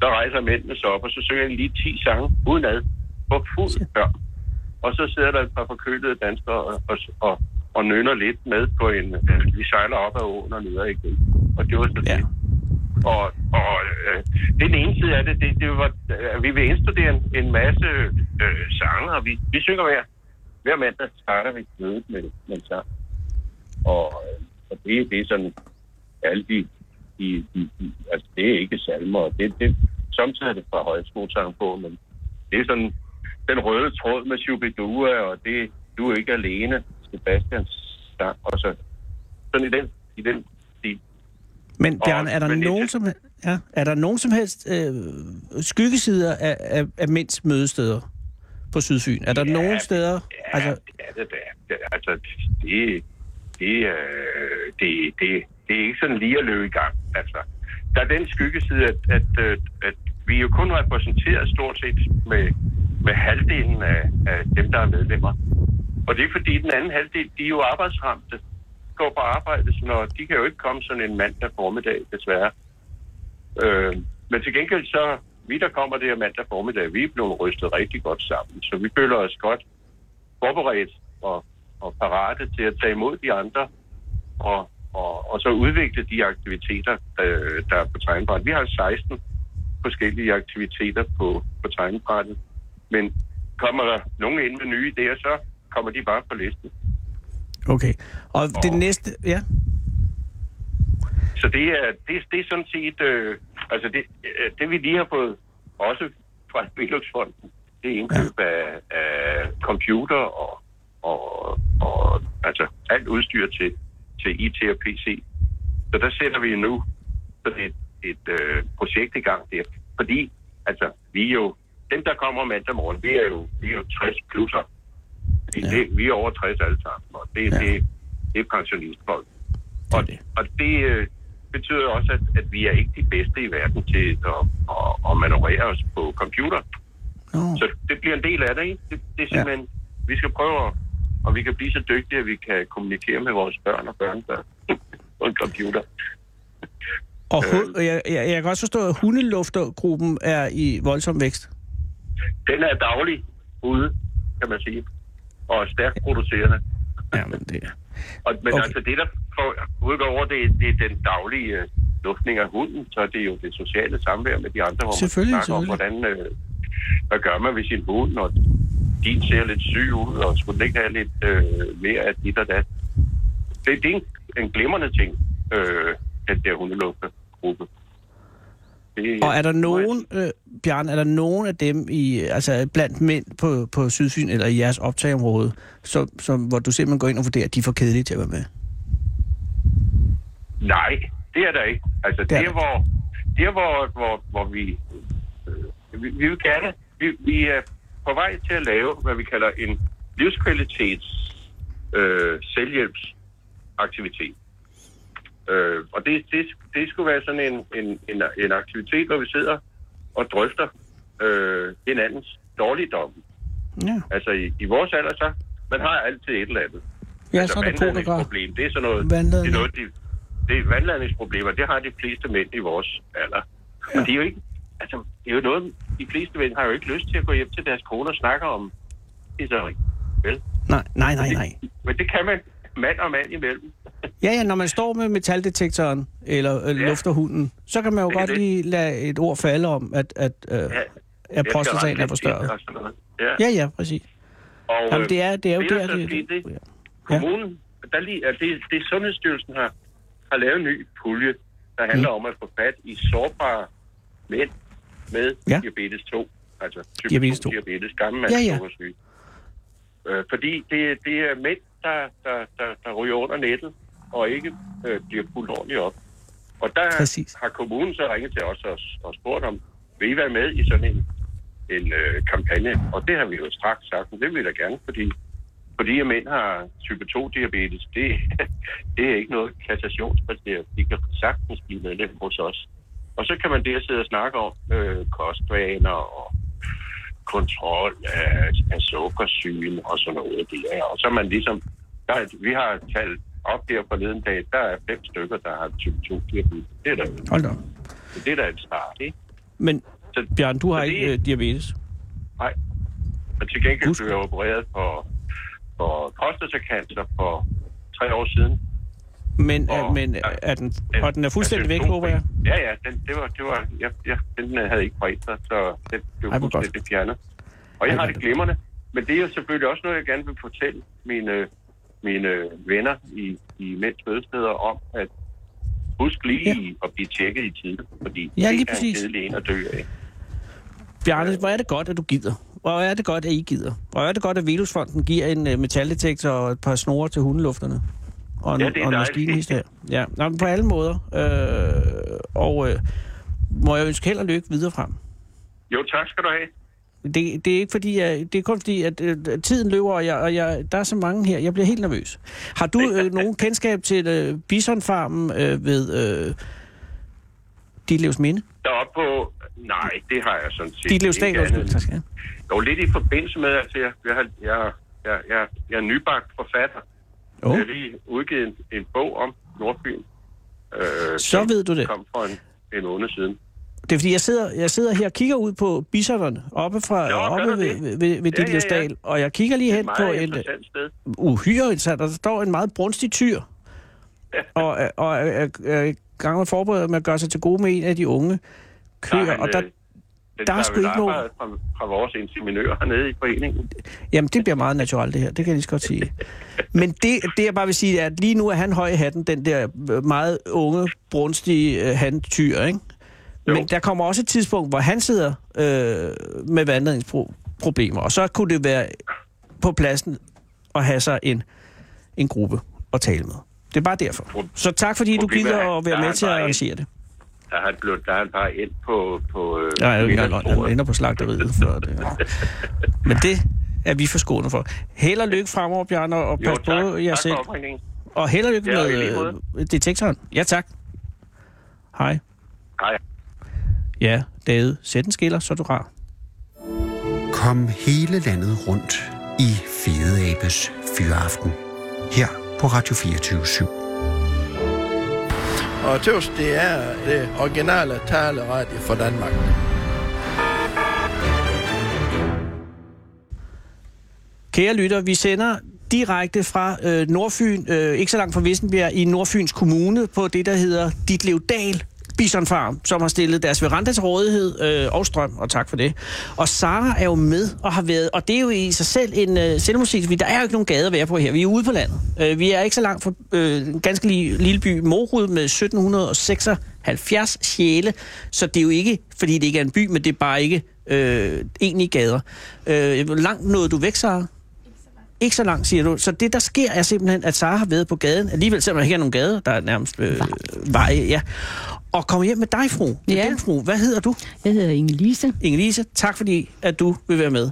[SPEAKER 7] der rejser mændene sig op, og så synger de lige 10 sange udenad på fuld børn. Og så sidder der et par forkølede danskere og, og, og, og nynner lidt med på en... Øh, vi sejler op ad åen og neder igen. Og det var så
[SPEAKER 4] Ja.
[SPEAKER 7] det. Og, og øh, det er den ene side af det. det, det var, øh, vi vil indstudere en, en masse øh, sange, og vi, vi synger hver. Hver mandag starter vi mødet med, med en sang. Og, øh, og det, det er sådan alle de, de, de, de altså det er ikke salmer, og det, det, samtidig er det fra højskolesangbogen, men det er sådan den røde tråd med Shubidua, og det du er ikke alene, Sebastians sang, og så sådan i den, i den stil.
[SPEAKER 4] Men Bjørn,
[SPEAKER 7] Og-
[SPEAKER 4] er der,
[SPEAKER 7] men-
[SPEAKER 4] nogen som, ja, er der nogen som helst øh, skyggesider af, af, af mindst mødesteder på Sydfyn? Er der
[SPEAKER 7] Ja,
[SPEAKER 4] nogen steder?
[SPEAKER 7] Ja,
[SPEAKER 4] Altså,
[SPEAKER 7] altså, det er det da. Det- Altså, det, det, øh, det, det, det er ikke sådan lige at løbe i gang. Altså, der er den skyggeside, at, at, øh, at vi er jo kun repræsenteret stort set med, med halvdelen af, af dem, der er medlemmer. Og det er fordi, den anden halvdel, de er jo arbejdsramte. De går på arbejde, så når, de kan jo ikke komme sådan en mandag formiddag, desværre. Øh, men til gengæld så, vi der kommer det her mandag formiddag, vi er blevet rystet rigtig godt sammen. Så vi føler os godt forberedt og, og parate til at tage imod de andre og, og, og så udvikle de aktiviteter, øh, der er på tegnbrættet. Vi har 16 forskellige aktiviteter på, på tegnbrættet, men kommer der nogen ind med nye idéer, så kommer de bare på listen.
[SPEAKER 4] okay. Og det næste, ja.
[SPEAKER 7] Så det er, det, det er sådan set, øh, altså det, øh, det vi lige har fået, også fra Friluftsfonden, det er indkøb af, af computer og, og, og altså alt udstyr til, til IT og PC. Så der sætter vi nu sådan et, et øh, projekt i gang der, fordi altså, vi er jo, dem der kommer mandag morgen, vi er jo, vi er jo 60 plusser. Det,
[SPEAKER 4] Ja.
[SPEAKER 7] det, vi er over 60 alle sammen, og det,
[SPEAKER 4] Ja.
[SPEAKER 7] ja. det, det er pensionistfolk.
[SPEAKER 4] er
[SPEAKER 7] Og,
[SPEAKER 4] det.
[SPEAKER 7] og det øh, betyder også, at, at vi er ikke de bedste i verden til at, at, at manøvrere os på computer.
[SPEAKER 4] Oh,
[SPEAKER 7] Så det bliver en del af det, ikke? Det, det er simpelthen, ja. vi skal prøve, at, og vi kan blive så dygtige, at vi kan kommunikere med vores børn og børnebørn på en computer.
[SPEAKER 4] og hu- og jeg, jeg, jeg kan også forstå, at hundeluftergruppen er i voldsom vækst.
[SPEAKER 7] Den er daglig ude, kan man sige, og er stærkt producerende.
[SPEAKER 4] Jamen, det er...
[SPEAKER 7] Og,
[SPEAKER 4] Okay.
[SPEAKER 7] men okay. altså det, der får udgår over, det, er- det er den daglige øh, luftning af hunden, så er det jo det sociale samvær med de andre, hvor man
[SPEAKER 4] Selvfølgelig,
[SPEAKER 7] snakker om, hvordan, øh, hvad gør man ved sin hund, og din ser lidt syg ud, og skulle den ikke have lidt øh, mere af dit og dat. Det, det er en, en glimrende ting, øh, den der hundeluftegruppe. Det,
[SPEAKER 4] Og er der nogen, øh, Bjørn, er der nogen af dem i, altså blandt mænd på, på Sydfyn eller i jeres optagområde, som, som, hvor du simpelthen går ind og vurderer, at de er for kedelige til at være med?
[SPEAKER 7] Nej, det er der ikke. Altså
[SPEAKER 4] er
[SPEAKER 7] der,
[SPEAKER 4] der.
[SPEAKER 7] hvor, der hvor, hvor, hvor vi, øh, vi, vi vil gerne, vi, vi er på vej til at lave, hvad vi kalder en livskvalitets øh, selvhjælpsaktivitet. Øh, og det, det, det skulle være sådan en, en, en, en aktivitet, hvor vi sidder og drøfter øh, hinandens dårligdomme.
[SPEAKER 4] Ja,
[SPEAKER 7] Altså i, i vores alder, så man har altid et eller andet Altså
[SPEAKER 4] ja så er det komiker.
[SPEAKER 7] vandladningsproblem, det er sådan noget, det
[SPEAKER 4] Vandladning.
[SPEAKER 7] er noget, de, det er vandladningsproblemer, det har de fleste mænd i vores alder. Ja. Og det er jo ikke, altså, det er jo noget, de fleste mænd har jo ikke lyst til at gå hjem til deres kone og snakke om pisseri, vel?
[SPEAKER 4] Nej, nej, nej, nej.
[SPEAKER 7] Men det kan man mand og mand imellem.
[SPEAKER 4] Ja, ja, når man står med metaldetektoren eller øh,
[SPEAKER 7] Ja.
[SPEAKER 4] lufter hunden, så kan man jo
[SPEAKER 7] Det er
[SPEAKER 4] godt
[SPEAKER 7] det.
[SPEAKER 4] lige lade et ord falde om, at, at, øh, at
[SPEAKER 7] Jeg skal
[SPEAKER 4] prostataen
[SPEAKER 7] rette
[SPEAKER 4] er
[SPEAKER 7] lidt
[SPEAKER 4] forstørret.
[SPEAKER 7] ind og sådan noget. Ja,
[SPEAKER 4] Ja, ja, præcis.
[SPEAKER 7] og,
[SPEAKER 4] Jamen, det er, det er jo
[SPEAKER 7] øh,
[SPEAKER 4] der,
[SPEAKER 7] ellers så
[SPEAKER 4] det,
[SPEAKER 7] skete
[SPEAKER 4] det
[SPEAKER 7] kommunen, der lige, at det, det Sundhedsstyrelsen har, har lavet en ny pulje, der handler om at få fat i sårbare mænd med
[SPEAKER 4] Ja.
[SPEAKER 7] ja. diabetes 2. Altså type
[SPEAKER 4] Diabetes
[SPEAKER 7] diabetes,
[SPEAKER 4] 2.
[SPEAKER 7] 2. diabetes, gammel
[SPEAKER 4] Ja,
[SPEAKER 7] mand,
[SPEAKER 4] ja.
[SPEAKER 7] ja, Øh, fordi det, det er mænd, der, der, der, der ryger under nettet og ikke øh, bliver fuldt ordentligt op. Og der
[SPEAKER 4] Præcis.
[SPEAKER 7] har kommunen så ringet til os og, og spurgt om, vil I være med i sådan en, en øh, kampagne? Og det har vi jo straks sagt, men det vil vi da gerne, fordi, fordi at mænd har type 2-diabetes, det, [laughs] det er ikke noget kassationsbaseret. De kan sagtens blive medlem hos os. Og så kan man der sidde og snakke om øh, kostvaner og kontrol af, af sukkersygen og sådan noget. Det er. Og så er man ligesom, der, er et- vi har et tal op her forleden dag, der er fem stykker, der har type 2 diabetes. Det er da,
[SPEAKER 4] Hold da op.
[SPEAKER 7] det er da en start, ikke?
[SPEAKER 4] Men
[SPEAKER 7] Så,
[SPEAKER 4] Bjørn, du har
[SPEAKER 7] så det-
[SPEAKER 4] ikke øh, diabetes.
[SPEAKER 7] Nej. Og til gengæld
[SPEAKER 4] Husk.
[SPEAKER 7] blev jeg opereret for, for prostatacancer for tre år siden.
[SPEAKER 4] Men,
[SPEAKER 7] Åh,
[SPEAKER 4] er, men
[SPEAKER 7] ja. altså,
[SPEAKER 4] er den, og den er fuldstændig væk,
[SPEAKER 7] symptom-
[SPEAKER 4] håber jeg.
[SPEAKER 7] Ja, ja, den, det var, det var, ja, ja, den øh, havde ikke bredt sig, så den blev
[SPEAKER 4] Ej, hvor godt.
[SPEAKER 7] fuldstændig fjernet. Og jeg
[SPEAKER 4] Ej,
[SPEAKER 7] har
[SPEAKER 4] hvor
[SPEAKER 7] det glimrende, men det er jo selvfølgelig også noget, jeg gerne vil fortælle mine, mine venner i, i mænds fødesteder om, at husk lige at blive tjekket i tide, fordi
[SPEAKER 4] Ja, lige
[SPEAKER 7] det er en
[SPEAKER 4] præcis.
[SPEAKER 7] kedelig en at dø af.
[SPEAKER 4] Bjarne, hvor er det godt, at du gider. Og hvor er det godt, at I gider. Og hvor er det godt, at Velusfonden giver en øh, metaldetektor og et par snore til hundelufterne. Og en,
[SPEAKER 7] Ja,
[SPEAKER 4] ja,
[SPEAKER 7] det er
[SPEAKER 4] og en
[SPEAKER 7] dejligt.
[SPEAKER 4] maskinist her. Ja, Nå, men på alle måder. Øh, og øh, må jeg ønske held og lykke videre frem.
[SPEAKER 7] Jo, tak skal du have.
[SPEAKER 4] Det, det er ikke fordi, jeg, det er kun fordi, at øh, tiden løber, og, jeg, og jeg, der er så mange her. Jeg bliver helt nervøs. Har du
[SPEAKER 7] [laughs]
[SPEAKER 4] øh, nogen kendskab til øh, bisonfarmen øh, ved øh, Ditlevs Minde?
[SPEAKER 7] Deroppe på... Nej, det har jeg sådan set.
[SPEAKER 4] Ditlevs
[SPEAKER 7] ikke
[SPEAKER 4] Dal,
[SPEAKER 7] andet.
[SPEAKER 4] undskyld. tak skal jeg.
[SPEAKER 7] Jo, lidt i forbindelse med, at jeg, jeg, har- jeg, jeg, jeg, jeg er nybagt forfatter.
[SPEAKER 4] Jo.
[SPEAKER 7] Jeg har lige udgivet en, en bog om Nordfyn. Øh,
[SPEAKER 4] Så ved du det.
[SPEAKER 7] kom for en, en måned siden.
[SPEAKER 4] Det er fordi, jeg sidder, jeg sidder her og kigger ud på bisonerne oppe, fra,
[SPEAKER 7] Nå, gør
[SPEAKER 4] oppe
[SPEAKER 7] du
[SPEAKER 4] ved,
[SPEAKER 7] det?
[SPEAKER 4] ved, ved, ved
[SPEAKER 7] Ja,
[SPEAKER 4] Ditlevs
[SPEAKER 7] ja, ja.
[SPEAKER 4] Dal, og jeg kigger lige
[SPEAKER 7] Det er
[SPEAKER 4] hen
[SPEAKER 7] et
[SPEAKER 4] på
[SPEAKER 7] meget
[SPEAKER 4] en øh,
[SPEAKER 7] interessant sted.
[SPEAKER 4] uhyre interessant, og der står en meget brunstig
[SPEAKER 7] [laughs]
[SPEAKER 4] tyr, og, er- og er, er i gang med forberedt med at gøre sig til gode med en af de unge køer,
[SPEAKER 7] han,
[SPEAKER 4] og der,
[SPEAKER 7] øh, Den
[SPEAKER 4] der er
[SPEAKER 7] tager
[SPEAKER 4] sgu
[SPEAKER 7] vel
[SPEAKER 4] ikke nogen-
[SPEAKER 7] arbejde Fra, fra vores inseminører hernede i foreningen.
[SPEAKER 4] Jamen, det bliver meget naturligt, det her. Det kan jeg lige så godt sige. Men det, det, jeg bare vil sige, er, at lige nu er han høj i hatten, den der øh, meget unge, brunstige øh, handtyr, ikke? Men
[SPEAKER 7] Jo.
[SPEAKER 4] der kommer også et tidspunkt, hvor han sidder øh, med vandringsproblemer, og så kunne det være på pladsen at have sig en, en gruppe at tale med. Det er bare derfor.
[SPEAKER 7] Pro-
[SPEAKER 4] Så tak, fordi du
[SPEAKER 7] problemet er,
[SPEAKER 4] gider at
[SPEAKER 7] der
[SPEAKER 4] være
[SPEAKER 7] er
[SPEAKER 4] med
[SPEAKER 7] han
[SPEAKER 4] til at
[SPEAKER 7] bare en-
[SPEAKER 4] arrangere det.
[SPEAKER 7] Der har han blevet, der har han bare ind på... på øh,
[SPEAKER 4] Nej, jeg er jo ikke engang løgn.
[SPEAKER 7] middagsbordet.
[SPEAKER 4] Han ender på slagteriet før det. Men det er vi forskånet for. Held og lykke fremover, Bjarne, og
[SPEAKER 7] Jo,
[SPEAKER 4] pas
[SPEAKER 7] tak.
[SPEAKER 4] på jer
[SPEAKER 7] tak
[SPEAKER 4] selv.
[SPEAKER 7] for opringningen.
[SPEAKER 4] Og held og lykke
[SPEAKER 7] Ja, og i
[SPEAKER 4] med
[SPEAKER 7] lige måde.
[SPEAKER 4] øh, detektoren. Ja, tak. Hej.
[SPEAKER 7] Hej.
[SPEAKER 4] Ja, David, sæt en skiller, så er du rar.
[SPEAKER 3] Kom hele landet rundt i Fede Abes Fyraften. Her på Radio 24 /7.
[SPEAKER 8] Og tøvs, det er det originale taleradio for Danmark.
[SPEAKER 4] Kære lytter, vi sender direkte fra øh, Nordfyn, øh, ikke så langt fra Vissenbjerg, i Nordfyns Kommune, på det, der hedder Ditlev Dal Bisonfarm, som har stillet deres veranda til rådighed øh, og strøm, og tak for det. Og Sara er jo med og har været, og det er jo i sig selv en øh, selvmusik, fordi der er jo ikke nogen gade at være på her. Vi er ude på landet. Øh, vi er ikke så langt fra øh, en ganske lille, lille by Morud med 1776 sjæle, så det er jo ikke, fordi det ikke er en by, men det er bare ikke øh, egentlig gader. Øh, hvor langt nåede du væk, Sara? Ikke så langt, siger du. Så det, der sker, er simpelthen, at Sara har været på gaden. Alligevel, selvom der ikke er nogen gade, der er nærmest øh, veje. Ja. Og kommer hjem med dig, fru. Med
[SPEAKER 9] Ja.
[SPEAKER 4] Din fru. Hvad hedder du?
[SPEAKER 9] Jeg hedder Inge Lise.
[SPEAKER 4] Inge-Lise, tak fordi, at du vil være med.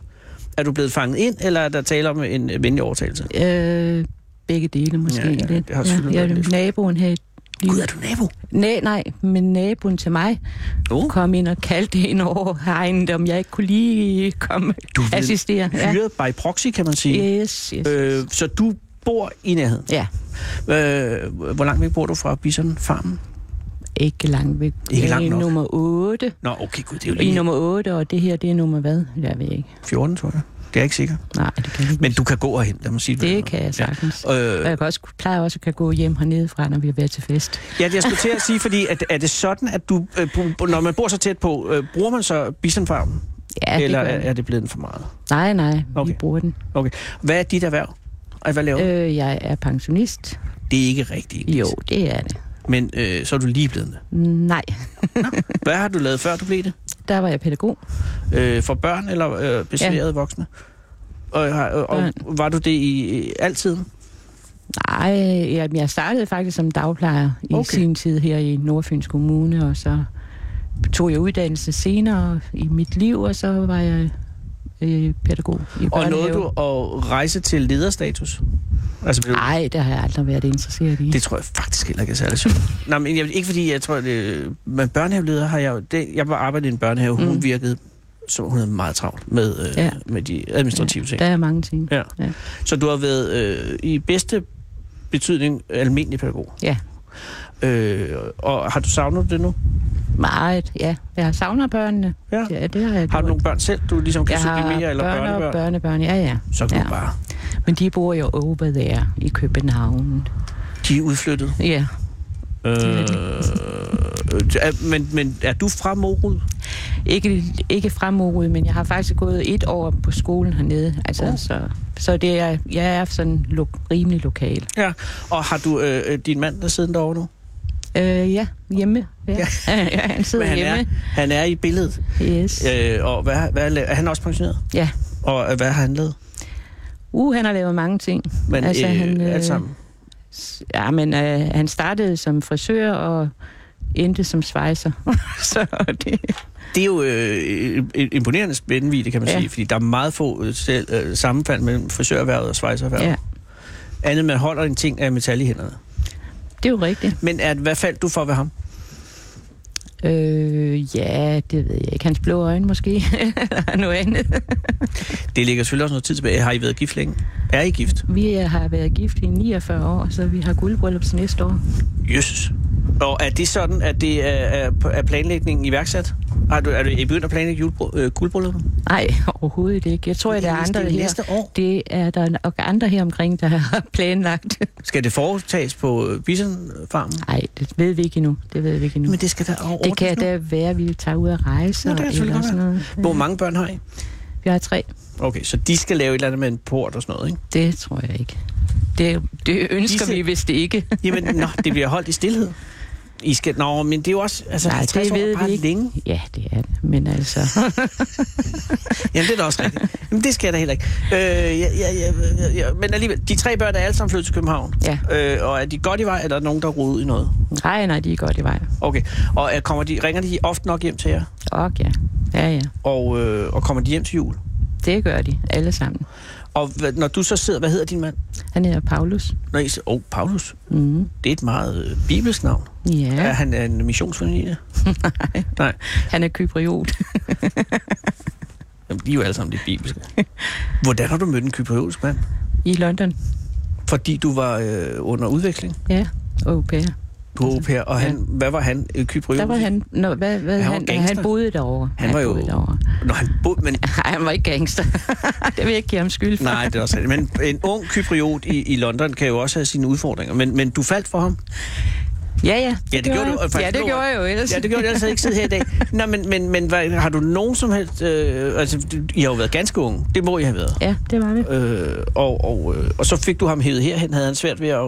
[SPEAKER 4] Er du blevet fanget ind, eller er der tale om en øh, venlig overtagelse?
[SPEAKER 9] Øh, begge dele måske
[SPEAKER 4] Ja, ja,
[SPEAKER 9] lidt.
[SPEAKER 4] det har selvfølgelig
[SPEAKER 9] jeg
[SPEAKER 4] været
[SPEAKER 9] er
[SPEAKER 4] lidt.
[SPEAKER 9] naboen her. i-
[SPEAKER 4] Gud, er du nabo?
[SPEAKER 9] Nej, nej, men naboen til mig
[SPEAKER 4] Oh.
[SPEAKER 9] kom ind og kaldte ind over hegnet, om jeg ikke kunne lige komme
[SPEAKER 4] Du er blevet
[SPEAKER 9] assistere.
[SPEAKER 4] Hyret by proxy, kan man sige.
[SPEAKER 9] Yes, yes.
[SPEAKER 4] Øh, så du bor i nærheden.
[SPEAKER 9] Ja,
[SPEAKER 4] Øh, hvor langt væk bor du fra Bison Farmen?
[SPEAKER 9] ikke langt væk.
[SPEAKER 4] Ikke langt
[SPEAKER 9] Det er
[SPEAKER 4] nok.
[SPEAKER 9] nummer 8.
[SPEAKER 4] Nå, okay, gud, det er jo
[SPEAKER 9] I
[SPEAKER 4] lige
[SPEAKER 9] nummer 8, og det her, det er nummer hvad? Jeg ved ikke.
[SPEAKER 4] 14, tror jeg. Det er jeg ikke sikker.
[SPEAKER 9] Nej, det kan jeg ikke.
[SPEAKER 4] Men du kan gå herhen, lad mig sige
[SPEAKER 9] det kan jeg sagtens.
[SPEAKER 4] Ja.
[SPEAKER 9] Og
[SPEAKER 4] Øh,
[SPEAKER 9] jeg kan også, plejer også at kan gå hjem hernede fra, når vi har været til fest.
[SPEAKER 4] ja, jeg skulle til at sige, fordi at, er det sådan, at du, øh, bo- når man bor så tæt på, øh, bruger man så bisonfarmen?
[SPEAKER 9] Ja,
[SPEAKER 4] eller
[SPEAKER 9] det gør
[SPEAKER 4] er,
[SPEAKER 9] jeg.
[SPEAKER 4] er det blevet for meget?
[SPEAKER 9] Nej, nej,
[SPEAKER 4] Okay.
[SPEAKER 9] vi bruger den.
[SPEAKER 4] Okay. Hvad er dit erhverv? Og hvad laver øh,
[SPEAKER 9] Øh, jeg er pensionist.
[SPEAKER 4] Det er ikke rigtigt.
[SPEAKER 9] Jo, det er det.
[SPEAKER 4] Men øh, så er du lige blevet det.
[SPEAKER 9] Nej,
[SPEAKER 4] Hvad har du lavet før du blev det?
[SPEAKER 9] der var jeg pædagog.
[SPEAKER 4] Øh, for børn eller øh, besværede ja. voksne? Og, øh, har- og, og var du det i, i altid?
[SPEAKER 9] Nej, jamen, jeg startede faktisk som dagplejer i
[SPEAKER 4] Okay.
[SPEAKER 9] okay. sin tid her i Nordfyns Kommune, og så tog jeg uddannelse senere i mit liv, og så var jeg øh, pædagog i
[SPEAKER 4] Og nåede
[SPEAKER 9] børnehave.
[SPEAKER 4] du at rejse til lederstatus? Altså, blev,
[SPEAKER 9] Nej, det har jeg aldrig været interesseret i.
[SPEAKER 4] det tror jeg faktisk heller ikke er særlig sjovt. Nej, Mm. men jeg, ikke fordi jeg tror, at øh, men børnehaveleder har jeg jo... Det, jeg var arbejdet i en børnehave, mm. hun
[SPEAKER 9] Mm.
[SPEAKER 4] virkede, så hun havde meget travlt med, øh, ja.
[SPEAKER 9] Ja.
[SPEAKER 4] med de administrative ja. ting.
[SPEAKER 9] Der er mange ting.
[SPEAKER 4] Ja.
[SPEAKER 9] Ja.
[SPEAKER 4] Så du har været øh, i bedste betydning almindelig pædagog.
[SPEAKER 9] Ja.
[SPEAKER 4] Øh, og har du savnet det nu?
[SPEAKER 9] Meget, ja. Jeg savner børnene.
[SPEAKER 4] Ja.
[SPEAKER 9] Ja, det har jeg
[SPEAKER 4] Har du
[SPEAKER 9] gjort.
[SPEAKER 4] nogle børn selv, du ligesom kan
[SPEAKER 9] Jeg
[SPEAKER 4] sublimere,
[SPEAKER 9] har
[SPEAKER 4] eller
[SPEAKER 9] børn
[SPEAKER 4] børnebørn?
[SPEAKER 9] og børnebørn, ja, ja.
[SPEAKER 4] Så kan
[SPEAKER 9] ja.
[SPEAKER 4] du bare...
[SPEAKER 9] Men de bor jo over there i København.
[SPEAKER 4] De er udflyttet.
[SPEAKER 9] Ja, er
[SPEAKER 4] Øh, er- men, men er du fra Morud?
[SPEAKER 9] ikke, ikke fremovet, men jeg har faktisk gået et år på skolen hernede. Altså,
[SPEAKER 4] Oh.
[SPEAKER 9] oh. så, så det er, jeg er sådan lo- rimelig lokal.
[SPEAKER 4] Ja. Og har du øh, øh, din mand, der sidder derovre nu?
[SPEAKER 9] Øh, ja, hjemme. Ja. [laughs] ja. han sidder
[SPEAKER 4] Men han, er,
[SPEAKER 9] hjemme.
[SPEAKER 4] han er i billedet.
[SPEAKER 9] Yes.
[SPEAKER 4] Øh, og hvad, hvad laver, er han også pensioneret?
[SPEAKER 9] Ja.
[SPEAKER 4] Og øh, hvad har han lavet?
[SPEAKER 9] Uh, han har lavet mange ting.
[SPEAKER 4] Men,
[SPEAKER 9] Altså,
[SPEAKER 4] øh,
[SPEAKER 9] han, øh,
[SPEAKER 4] alt sammen.
[SPEAKER 9] S- Ja, men øh, han startede som frisør og endte som svejser. [laughs] så det,
[SPEAKER 4] Det er jo øh, øh, imponerende spændvidde, kan man ja.
[SPEAKER 9] Ja.
[SPEAKER 4] sige, fordi der er meget få øh, selv, øh, sammenfald mellem frisørerhvervet og svejsererhvervet. Ja.
[SPEAKER 9] ja,
[SPEAKER 4] Andet man holder en ting af metal i hænderne.
[SPEAKER 9] det er jo rigtigt.
[SPEAKER 4] Men er, hvad faldt du for ved ham?
[SPEAKER 9] Øh, ja, det ved jeg ikke. Hans blå øjne måske. [laughs] Eller noget andet.
[SPEAKER 4] Det ligger selvfølgelig også noget tid tilbage. Har I været gift længe? Er I gift?
[SPEAKER 9] Vi har været gift i 49 år, så vi har guldbryllups næste år.
[SPEAKER 4] Jøsses. Og er det sådan, at det er, er, er planlægningen iværksat? Har du, er du I begyndt at planlægge julebro, øh, guldbrylluppet?
[SPEAKER 9] Nej, overhovedet ikke. Jeg tror, at der er
[SPEAKER 4] Hvis det
[SPEAKER 9] andre
[SPEAKER 4] er
[SPEAKER 9] her.
[SPEAKER 4] næste år.
[SPEAKER 9] Det er der nok andre her omkring, der har [laughs] planlagt.
[SPEAKER 4] Skal det foretages på øh, bisonfarmen?
[SPEAKER 9] Nej, det ved vi ikke endnu. Det ved vi ikke endnu.
[SPEAKER 4] Men Mm. det skal der over.
[SPEAKER 9] det kan da være, at vi tager ud og rejse.
[SPEAKER 4] Nå, det kan selvfølgelig
[SPEAKER 9] eller
[SPEAKER 4] godt
[SPEAKER 9] sådan noget.
[SPEAKER 4] Hvor mange børn har I?
[SPEAKER 9] Vi har tre.
[SPEAKER 4] Okay, så de skal lave et eller andet med en port og sådan noget, ikke?
[SPEAKER 9] Det tror jeg ikke. Det, det ønsker
[SPEAKER 4] Disse-
[SPEAKER 9] vi, hvis det
[SPEAKER 4] [laughs]
[SPEAKER 9] ikke.
[SPEAKER 4] Jamen, nå, det bliver holdt i stillhed. I skal, nå, men det er jo også, altså,
[SPEAKER 9] Nej,
[SPEAKER 4] 50
[SPEAKER 9] det
[SPEAKER 4] år er
[SPEAKER 9] ved
[SPEAKER 4] bare
[SPEAKER 9] vi ikke.
[SPEAKER 4] længe.
[SPEAKER 9] Ja, det er det. Men altså,
[SPEAKER 4] Jamen, det er da også rigtigt. Jamen, det skal jeg da heller ikke. Øh, ja, ja, ja, ja, ja, men alligevel, de tre børn er alle sammen flyttet til København.
[SPEAKER 9] Ja.
[SPEAKER 4] Øh, og er de godt i vej, eller er der nogen, der roder ud i noget?
[SPEAKER 9] nej, nej, de er godt i vej.
[SPEAKER 4] Okay, og øh, kommer de, ringer de ofte nok hjem til jer?
[SPEAKER 9] Og ja, ja, ja.
[SPEAKER 4] Og, øh, og kommer de hjem til jul?
[SPEAKER 9] Det gør de, alle sammen.
[SPEAKER 4] Og hvad, når du så sidder, hvad hedder din mand?
[SPEAKER 9] Han hedder Paulus.
[SPEAKER 4] Når I, s- oh, Paulus.
[SPEAKER 9] Mm.
[SPEAKER 4] Det er et meget øh, bibelsk navn.
[SPEAKER 9] Ja,
[SPEAKER 4] Ja. Er
[SPEAKER 9] ja,
[SPEAKER 4] han en
[SPEAKER 9] [laughs]
[SPEAKER 4] missionsfamilie? Nej.
[SPEAKER 9] han er kypriot.
[SPEAKER 4] Jamen, de er jo alle sammen lidt
[SPEAKER 9] [laughs]
[SPEAKER 4] bibelske. Hvordan har du mødt en kypriotisk mand?
[SPEAKER 9] I London.
[SPEAKER 4] Fordi du var øh, under udvikling
[SPEAKER 9] Ja, au pair.
[SPEAKER 4] på au pair, og han,
[SPEAKER 9] Ja.
[SPEAKER 4] hvad var han? Øh, Kypriotisk?
[SPEAKER 9] Der var han... Nå, hvad, hvad,
[SPEAKER 4] Han var
[SPEAKER 9] han,
[SPEAKER 4] gangster.
[SPEAKER 9] han boede derovre.
[SPEAKER 4] Han var jo-
[SPEAKER 9] boede Derovre. [laughs]
[SPEAKER 4] Nå, han bo, men,
[SPEAKER 9] Nej, han var ikke gangster. [laughs] det vil jeg ikke give ham skyld for.
[SPEAKER 4] nej, det er også rigtigt. Men en ung kypriot i, i London kan jo også have sine udfordringer. Men, men du faldt for ham?
[SPEAKER 9] Ja, ja.
[SPEAKER 4] Ja, det gjorde
[SPEAKER 9] jeg.
[SPEAKER 4] du, og faktisk
[SPEAKER 9] Ja, det
[SPEAKER 4] gjorde-
[SPEAKER 9] gjorde jeg jo ellers.
[SPEAKER 4] Ja, det gjorde jeg altså ikke sidde her i dag. Nå, men, men, men hvad, har du nogen som helst... Øh, altså, du- I har jo været ganske unge. Det må I have været.
[SPEAKER 9] [laughs] Ja, det var det.
[SPEAKER 4] Øh, og, og, øh, og så fik du ham hævet herhen. Havde han svært ved at,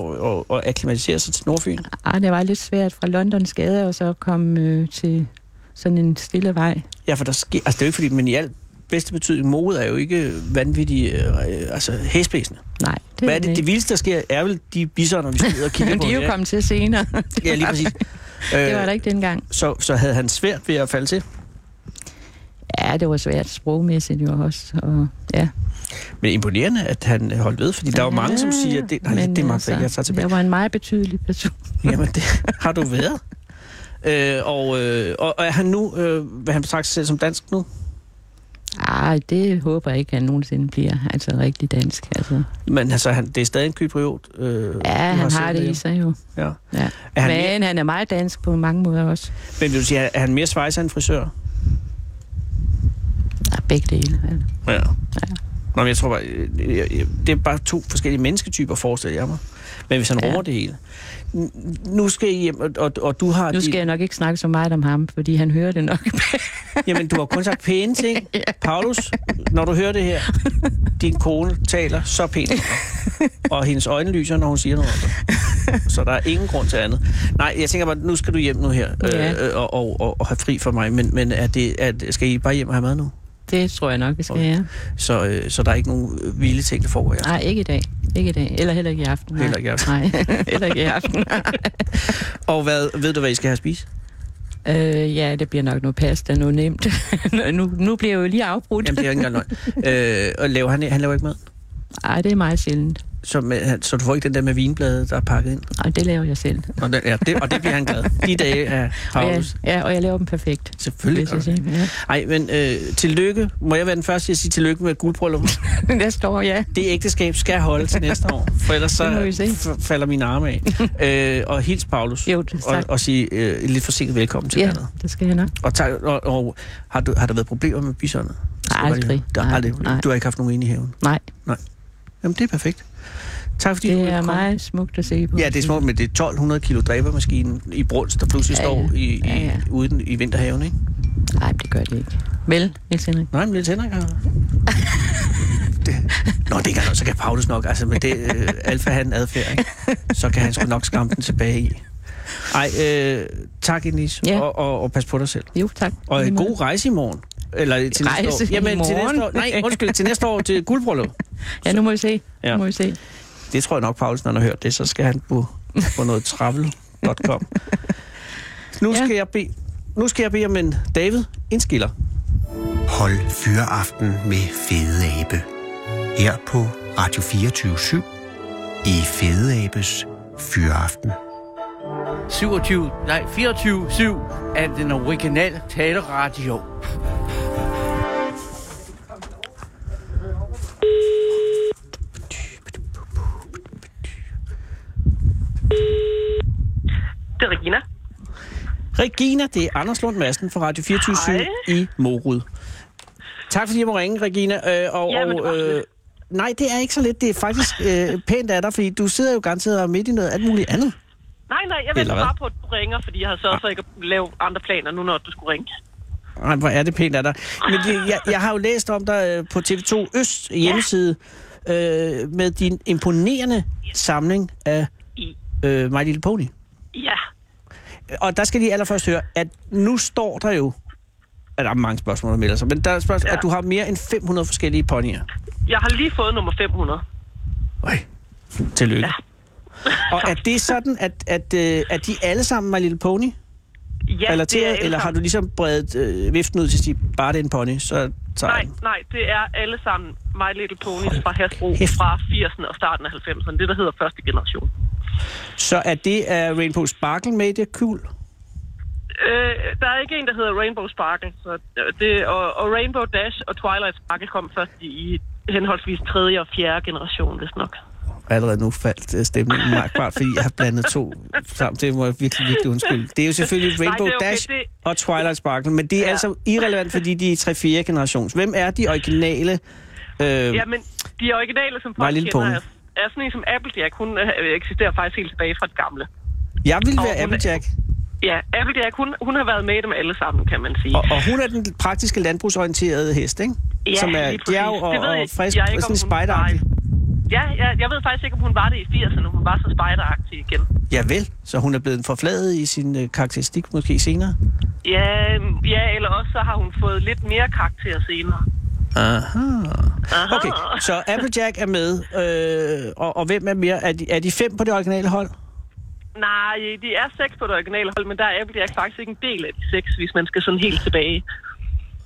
[SPEAKER 4] at, at akklimatisere sig til Nordfyn?
[SPEAKER 9] Ah, det var lidt svært fra Londons gader og så komme øh, til sådan en stille vej.
[SPEAKER 4] Ja, for der sker... Altså, det er jo ikke fordi... Men i alt bedste betydning, mode er jo ikke vanvittige... Øh, altså, hæsblæsende.
[SPEAKER 9] Nej, det
[SPEAKER 4] Hvad er
[SPEAKER 9] den
[SPEAKER 4] det, det
[SPEAKER 9] ikke.
[SPEAKER 4] vildeste, der sker, er vel de bisser, når vi skal ud og kigge
[SPEAKER 9] Men [laughs]
[SPEAKER 4] på
[SPEAKER 9] de er jo
[SPEAKER 4] ikke?
[SPEAKER 9] kommet til senere. [laughs]
[SPEAKER 4] Ja, lige præcis.
[SPEAKER 9] det var
[SPEAKER 4] Øh,
[SPEAKER 9] der ikke dengang.
[SPEAKER 4] Så, så havde han svært ved at falde til.
[SPEAKER 9] Ja, det var svært sprogmæssigt jo også. Og, ja.
[SPEAKER 4] Men imponerende, at han øh, holdt ved, fordi der er jo mange, som
[SPEAKER 9] Ja,
[SPEAKER 4] siger, det, nej,
[SPEAKER 9] men
[SPEAKER 4] det er altså,
[SPEAKER 9] altså,
[SPEAKER 4] jeg tager tilbage.
[SPEAKER 9] Jeg var en meget betydelig person.
[SPEAKER 4] Jamen, det [laughs] har du været. Øh, og, øh, og og er han nu, øh, hvad han betragter sig selv som dansk nu?
[SPEAKER 9] Ej, det håber jeg ikke, at han nogensinde bliver altså rigtig dansk. Altså.
[SPEAKER 4] Men altså, han, det er stadig en kypriot. Øh, du
[SPEAKER 9] Ja, han har
[SPEAKER 4] set
[SPEAKER 9] det i sig jo.
[SPEAKER 4] Ja.
[SPEAKER 9] Ja.
[SPEAKER 4] Er han
[SPEAKER 9] Men
[SPEAKER 4] mere,
[SPEAKER 9] han, er meget dansk på mange måder også.
[SPEAKER 4] men vil du sige, er han mere svejser end frisør?
[SPEAKER 9] Ja, begge dele. altså.
[SPEAKER 4] Ja. ja. Nå, men jeg tror bare, øh, jeg- jeg- det er bare to forskellige mennesketyper, forestiller jeg mig. Men hvis han
[SPEAKER 9] Ja.
[SPEAKER 4] rummer det hele. N- Nu skal I hjem, og, og, og du har...
[SPEAKER 9] Nu
[SPEAKER 4] dit-
[SPEAKER 9] skal jeg nok ikke snakke så meget om ham, fordi han hører det nok. [laughs]
[SPEAKER 4] Jamen, du har kun sagt pæne ting. Paulus, når du hører det her, din kone taler så pænt om
[SPEAKER 9] [laughs]
[SPEAKER 4] dig. Og hendes øjne lyser, når hun siger noget om dig. Så der er ingen grund til andet. Nej, jeg tænker bare, nu skal du hjem nu her,
[SPEAKER 9] Ja.
[SPEAKER 4] øh, og, og, og, og have fri for mig. Men, men er det, er, det- skal I bare hjem og have mad nu?
[SPEAKER 9] det tror jeg nok, vi skal
[SPEAKER 4] Okay.
[SPEAKER 9] have.
[SPEAKER 4] Så, øh, så der er ikke nogen øh, vilde ting, der foregår her.
[SPEAKER 9] Nej, ikke i dag. Ikke i dag. Eller heller ikke i aften. Nej.
[SPEAKER 4] Heller ikke i aften.
[SPEAKER 9] Nej, [laughs] heller ikke i
[SPEAKER 4] [laughs]
[SPEAKER 9] aften.
[SPEAKER 4] Og hvad, ved du, hvad I skal have at spise?
[SPEAKER 9] øh, ja, det bliver nok noget pasta, noget nemt. [laughs] nu, nu bliver jeg jo lige afbrudt.
[SPEAKER 4] Jamen, det er ikke engang løgn. Øh, og laver han, han laver ikke mad?
[SPEAKER 9] Nej, det er meget sjældent.
[SPEAKER 4] som, øh, så du får ikke den der med vinbladet, der er pakket ind.
[SPEAKER 9] Og det laver jeg selv.
[SPEAKER 4] Og det, ja, det, og det bliver han glad. De dage er
[SPEAKER 9] Og jeg,
[SPEAKER 4] Paulus.
[SPEAKER 9] ja, og jeg laver dem perfekt.
[SPEAKER 4] Selvfølgelig.
[SPEAKER 9] Hvis jeg siger, [laughs]
[SPEAKER 4] Nej, men øh, tillykke. Må jeg være den første til at sige tillykke med guldbrylluppet?
[SPEAKER 9] ja. Der står, ja.
[SPEAKER 4] Det ægteskab skal holde til næste år, for ellers så
[SPEAKER 9] Det må vi se.
[SPEAKER 4] f- falder mine arme af. øh, og hils Paulus.
[SPEAKER 9] Jo, det-
[SPEAKER 4] og,
[SPEAKER 9] tak.
[SPEAKER 4] og sige øh, lidt forsinket velkommen til
[SPEAKER 9] Ja,
[SPEAKER 4] landet.
[SPEAKER 9] det skal jeg nok.
[SPEAKER 4] Og, tak, og, og har, du, har der været problemer med biserne?
[SPEAKER 9] aldrig.
[SPEAKER 4] Der,
[SPEAKER 9] Nej,
[SPEAKER 4] aldrig.
[SPEAKER 9] nej.
[SPEAKER 4] Du har ikke haft nogen inde i haven?
[SPEAKER 9] Nej,
[SPEAKER 4] Jamen, det er perfekt. Tak fordi du
[SPEAKER 9] det
[SPEAKER 4] ville
[SPEAKER 9] er
[SPEAKER 4] komme.
[SPEAKER 9] meget smukt at se på.
[SPEAKER 4] Ja, det er smukt, men det er 1200 kilo dræbermaskinen i Bruns, der pludselig
[SPEAKER 9] Ja,
[SPEAKER 4] står
[SPEAKER 9] ja.
[SPEAKER 4] I, i,
[SPEAKER 9] Ja, ja.
[SPEAKER 4] ude i vinterhaven, ikke?
[SPEAKER 9] Nej, det gør det ikke. Vel, Niels Henrik?
[SPEAKER 4] Nej, men Niels
[SPEAKER 9] [laughs]
[SPEAKER 4] Henrik har... Det. Nå, det kan så kan Paulus nok. Altså med det øh, alfa han adfærd, ikke? så kan han sgu nok skamme den tilbage i. Ej, øh, tak Enis,
[SPEAKER 9] Ja.
[SPEAKER 4] og, og, og pas på dig selv.
[SPEAKER 9] Jo, tak.
[SPEAKER 4] Og
[SPEAKER 9] Lige
[SPEAKER 4] en
[SPEAKER 9] måde.
[SPEAKER 4] god rejse i morgen. Eller til
[SPEAKER 9] Rejse
[SPEAKER 4] næste år.
[SPEAKER 9] i
[SPEAKER 4] til
[SPEAKER 9] morgen.
[SPEAKER 4] næste år. Nej, undskyld, til næste år til guldbryllup.
[SPEAKER 9] Ja, nu må vi se.
[SPEAKER 4] Ja.
[SPEAKER 9] Nu må vi se.
[SPEAKER 4] Det tror jeg nok, Paulsen, han har hørt det, så skal han på, på noget travel.com. Nu
[SPEAKER 9] Ja.
[SPEAKER 4] skal, jeg bede, nu skal jeg bede om en David, en skiller.
[SPEAKER 3] Hold fyreaften med Fede Abe. Her på Radio 24 i Fede Abes Fyreaften.
[SPEAKER 10] 27, nej 24-7 af den originale taleradio.
[SPEAKER 2] Det er Regina.
[SPEAKER 4] Regina, det er Anders Lund Madsen fra Radio 24 i Morud. Tak fordi jeg må ringe, Regina. Øh, og,
[SPEAKER 2] Jamen, det var
[SPEAKER 4] og, øh, nej, det er ikke så lidt. Det er faktisk øh, pænt af dig, fordi du sidder jo garanteret og er midt i noget alt muligt andet.
[SPEAKER 2] Nej, nej, jeg
[SPEAKER 4] Eller
[SPEAKER 2] venter
[SPEAKER 4] hvad? Ah.
[SPEAKER 2] bare på, at du ringer, fordi jeg har sørget for ikke at lave andre planer nu, når du skulle ringe.
[SPEAKER 4] Ej, hvor er det pænt af dig. Men det, jeg, jeg har jo læst om dig øh, på TV2 Øst hjemmeside øh, med din imponerende samling af
[SPEAKER 2] I,
[SPEAKER 4] øh, My Little Pony.
[SPEAKER 2] ja,
[SPEAKER 4] Og der skal de allerførst høre, at nu står der jo... at Der er mange spørgsmål, der melder sig, men der er spørgsmål, ja.
[SPEAKER 2] Ja.
[SPEAKER 4] at du har mere end 500 forskellige ponyer.
[SPEAKER 2] jeg har lige fået nummer 500.
[SPEAKER 4] Øj. Tillykke.
[SPEAKER 2] Ja.
[SPEAKER 4] [laughs] og er det sådan, at, at, øh, at de alle sammen My Little Pony
[SPEAKER 2] Ja, det er
[SPEAKER 4] relateret,
[SPEAKER 2] alle
[SPEAKER 4] eller har du
[SPEAKER 2] sammen-
[SPEAKER 4] ligesom bredt øh, viften ud til at sige, bare det er en pony, så tager jeg
[SPEAKER 2] Nej,
[SPEAKER 4] den?
[SPEAKER 2] nej, det er alle sammen My Little Ponies fra Hasbro
[SPEAKER 4] kæft.
[SPEAKER 2] fra 80'erne og starten af 90'erne. Det, der hedder første generation.
[SPEAKER 4] Så er det uh, Rainbow Sparkle Media Cool?
[SPEAKER 2] Øh, der er ikke en, der hedder Rainbow Sparkle. Så øh, det, og, og Rainbow Dash og Twilight Sparkle kom først i henholdsvis tredje og fjerde generation, hvis nok.
[SPEAKER 4] Allerede nu faldt øh, stemningen mærkbart, fordi jeg har blandet to sammen. Det må jeg virkelig, virkelig undskylde. Det er jo selvfølgelig
[SPEAKER 2] Nej,
[SPEAKER 4] Rainbow
[SPEAKER 2] det er okay.
[SPEAKER 4] Dash
[SPEAKER 2] Det-
[SPEAKER 4] og Twilight Sparkle, men det er ja.
[SPEAKER 2] Ja.
[SPEAKER 4] altså irrelevant, fordi de er 3-4 generations. Hvem er de originale? Øh,
[SPEAKER 2] Ja, men de originale, som
[SPEAKER 4] My
[SPEAKER 2] folk
[SPEAKER 4] Little
[SPEAKER 2] kender,
[SPEAKER 4] Pony.
[SPEAKER 2] er, er sådan en som Applejack. Hun øh, eksisterer faktisk helt tilbage fra det gamle.
[SPEAKER 4] jeg vil
[SPEAKER 2] og
[SPEAKER 4] være
[SPEAKER 2] hun-
[SPEAKER 4] Applejack,
[SPEAKER 2] Ja, Applejack, hun, hun har været med i dem alle sammen, kan man sige.
[SPEAKER 4] og, og hun er den praktiske landbrugsorienterede hest, ikke?
[SPEAKER 2] Ja,
[SPEAKER 4] Som er
[SPEAKER 2] lige præcis.
[SPEAKER 4] djerv og,
[SPEAKER 2] Det ved jeg
[SPEAKER 4] og
[SPEAKER 2] ikke.
[SPEAKER 4] frisk,
[SPEAKER 2] Jeg er ikke,
[SPEAKER 4] og sådan
[SPEAKER 2] om hun var
[SPEAKER 4] spejderagtig.
[SPEAKER 2] Ja, ja, jeg ved faktisk ikke, om hun var det i 80'erne. Hun var så spejderagtig igen.
[SPEAKER 4] Ja vel, så hun er blevet forfladet i sin øh, karakteristik måske senere.
[SPEAKER 2] Ja, mm, ja, eller også så har hun fået lidt mere karakter senere.
[SPEAKER 4] Aha.
[SPEAKER 2] Aha.
[SPEAKER 4] Okay, så Applejack er med, øh, og, og hvem er mere? Er de, er de fem på det originale hold?
[SPEAKER 2] Nej, de er seks på det originale hold, men der er Applejack faktisk ikke en del af de seks, hvis man skal sådan helt tilbage.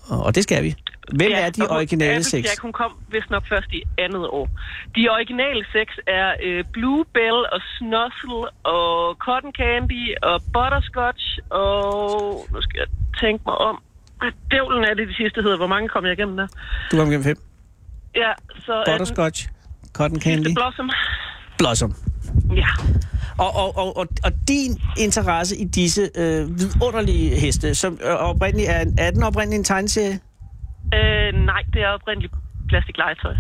[SPEAKER 4] Og, og det skal vi. Hvem ja, er
[SPEAKER 2] og
[SPEAKER 4] de
[SPEAKER 2] hun-
[SPEAKER 4] originale seks?
[SPEAKER 2] Applejack, hun kom vist nok først i andet år. De originale seks er øh, Bluebell og Snuzzle og Cotton Candy og Butterscotch og... Nu skal jeg tænke mig om. Hvad dævlen er det, de sidste hedder? Hvor mange kom jeg igennem der?
[SPEAKER 4] Du kom igennem fem.
[SPEAKER 2] Ja, så er den
[SPEAKER 4] Butterscotch, Cotton
[SPEAKER 2] sidste
[SPEAKER 4] Candy,
[SPEAKER 2] Blossom.
[SPEAKER 4] Blossom.
[SPEAKER 2] Ja.
[SPEAKER 4] Og, og, og, og, og din interesse i disse øh, vidunderlige heste, som øh, oprindeligt er, en, er den oprindeligt en tegneserie?
[SPEAKER 2] Øh, nej, det er oprindeligt plastiklegetøj.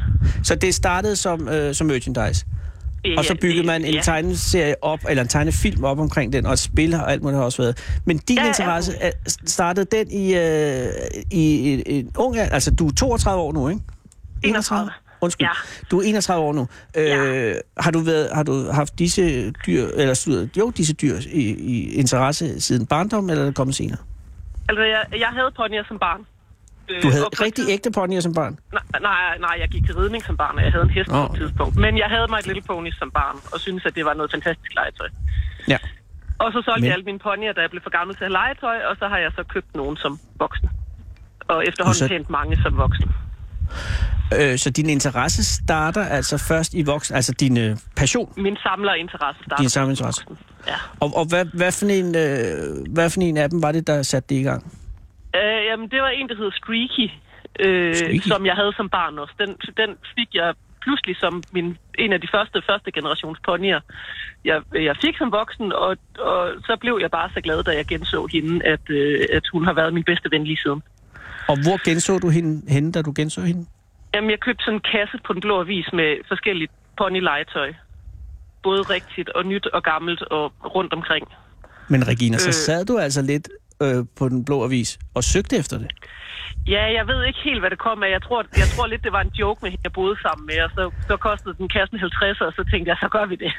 [SPEAKER 4] Så det startede som, øh, som merchandise,
[SPEAKER 2] Ja,
[SPEAKER 4] og så byggede
[SPEAKER 2] det-
[SPEAKER 4] man en
[SPEAKER 2] ja.
[SPEAKER 4] tegneserie op, eller en tegnefilm op omkring den, og et spil og alt muligt har også været. Men din
[SPEAKER 2] Ja,
[SPEAKER 4] ja,
[SPEAKER 2] ja.
[SPEAKER 4] interesse er, startede den i, øh, i en, en ung alder, altså du er 32 år nu, ikke?
[SPEAKER 2] 31.
[SPEAKER 4] Undskyld.
[SPEAKER 2] Ja.
[SPEAKER 4] Du er 31 år nu. Øh, har, du været, har du haft disse dyr, eller studeret, jo, disse dyr i, i interesse siden barndom, eller er det kommet senere?
[SPEAKER 2] Altså, jeg, jeg havde ponyer som barn. Øh,
[SPEAKER 4] Du havde
[SPEAKER 2] og på et
[SPEAKER 4] rigtig ægte ponyer som barn.
[SPEAKER 2] Nej, nej, nej, jeg gik til ridning som barn, og jeg havde en hest oh.
[SPEAKER 4] Nå.
[SPEAKER 2] på et tidspunkt. Men jeg havde mig et lille pony som barn, og syntes, at det var noget fantastisk legetøj.
[SPEAKER 4] Ja.
[SPEAKER 2] Og så solgte
[SPEAKER 4] Men-
[SPEAKER 2] Men... jeg alle mine ponyer, da jeg blev for gammel til at have legetøj, og så har jeg så købt nogen som voksen. Og efterhånden
[SPEAKER 4] Og så-
[SPEAKER 2] så... tjent mange som voksen.
[SPEAKER 4] Øh, så din interesse starter altså først i voksen, altså din øh, passion,
[SPEAKER 2] Min samlerinteresse starter.
[SPEAKER 4] din samme interesse.
[SPEAKER 2] Ja.
[SPEAKER 4] Og, og hvad, hvad, for en, øh, hvad for en af dem var det, der satte det i gang?
[SPEAKER 2] Øh, jamen, det var en, der hed Streaky, øh,
[SPEAKER 4] Streaky?
[SPEAKER 2] som jeg havde som barn også. Den, den fik jeg pludselig som min, en af de første, første generations ponyer. Jeg, jeg fik som voksen, og, og så blev jeg bare så glad, da jeg genså hende, at, øh, at hun har været min bedste ven lige siden.
[SPEAKER 4] Og hvor genså du hende, hende da du genså hende?
[SPEAKER 2] Jamen, jeg købte sådan en kasse på den blå avis med forskelligt ponylegetøj. Både rigtigt og nyt og gammelt og rundt omkring.
[SPEAKER 4] Men Regina, så
[SPEAKER 2] Øh.
[SPEAKER 4] sad du altså lidt øh, på den blå avis og søgte efter det.
[SPEAKER 2] Ja, jeg ved ikke helt, hvad det kom af. Jeg tror, jeg tror lidt, det var en joke med hende, jeg boede sammen med, og så, så kostede den kassen 50, og så tænkte jeg, så gør vi det.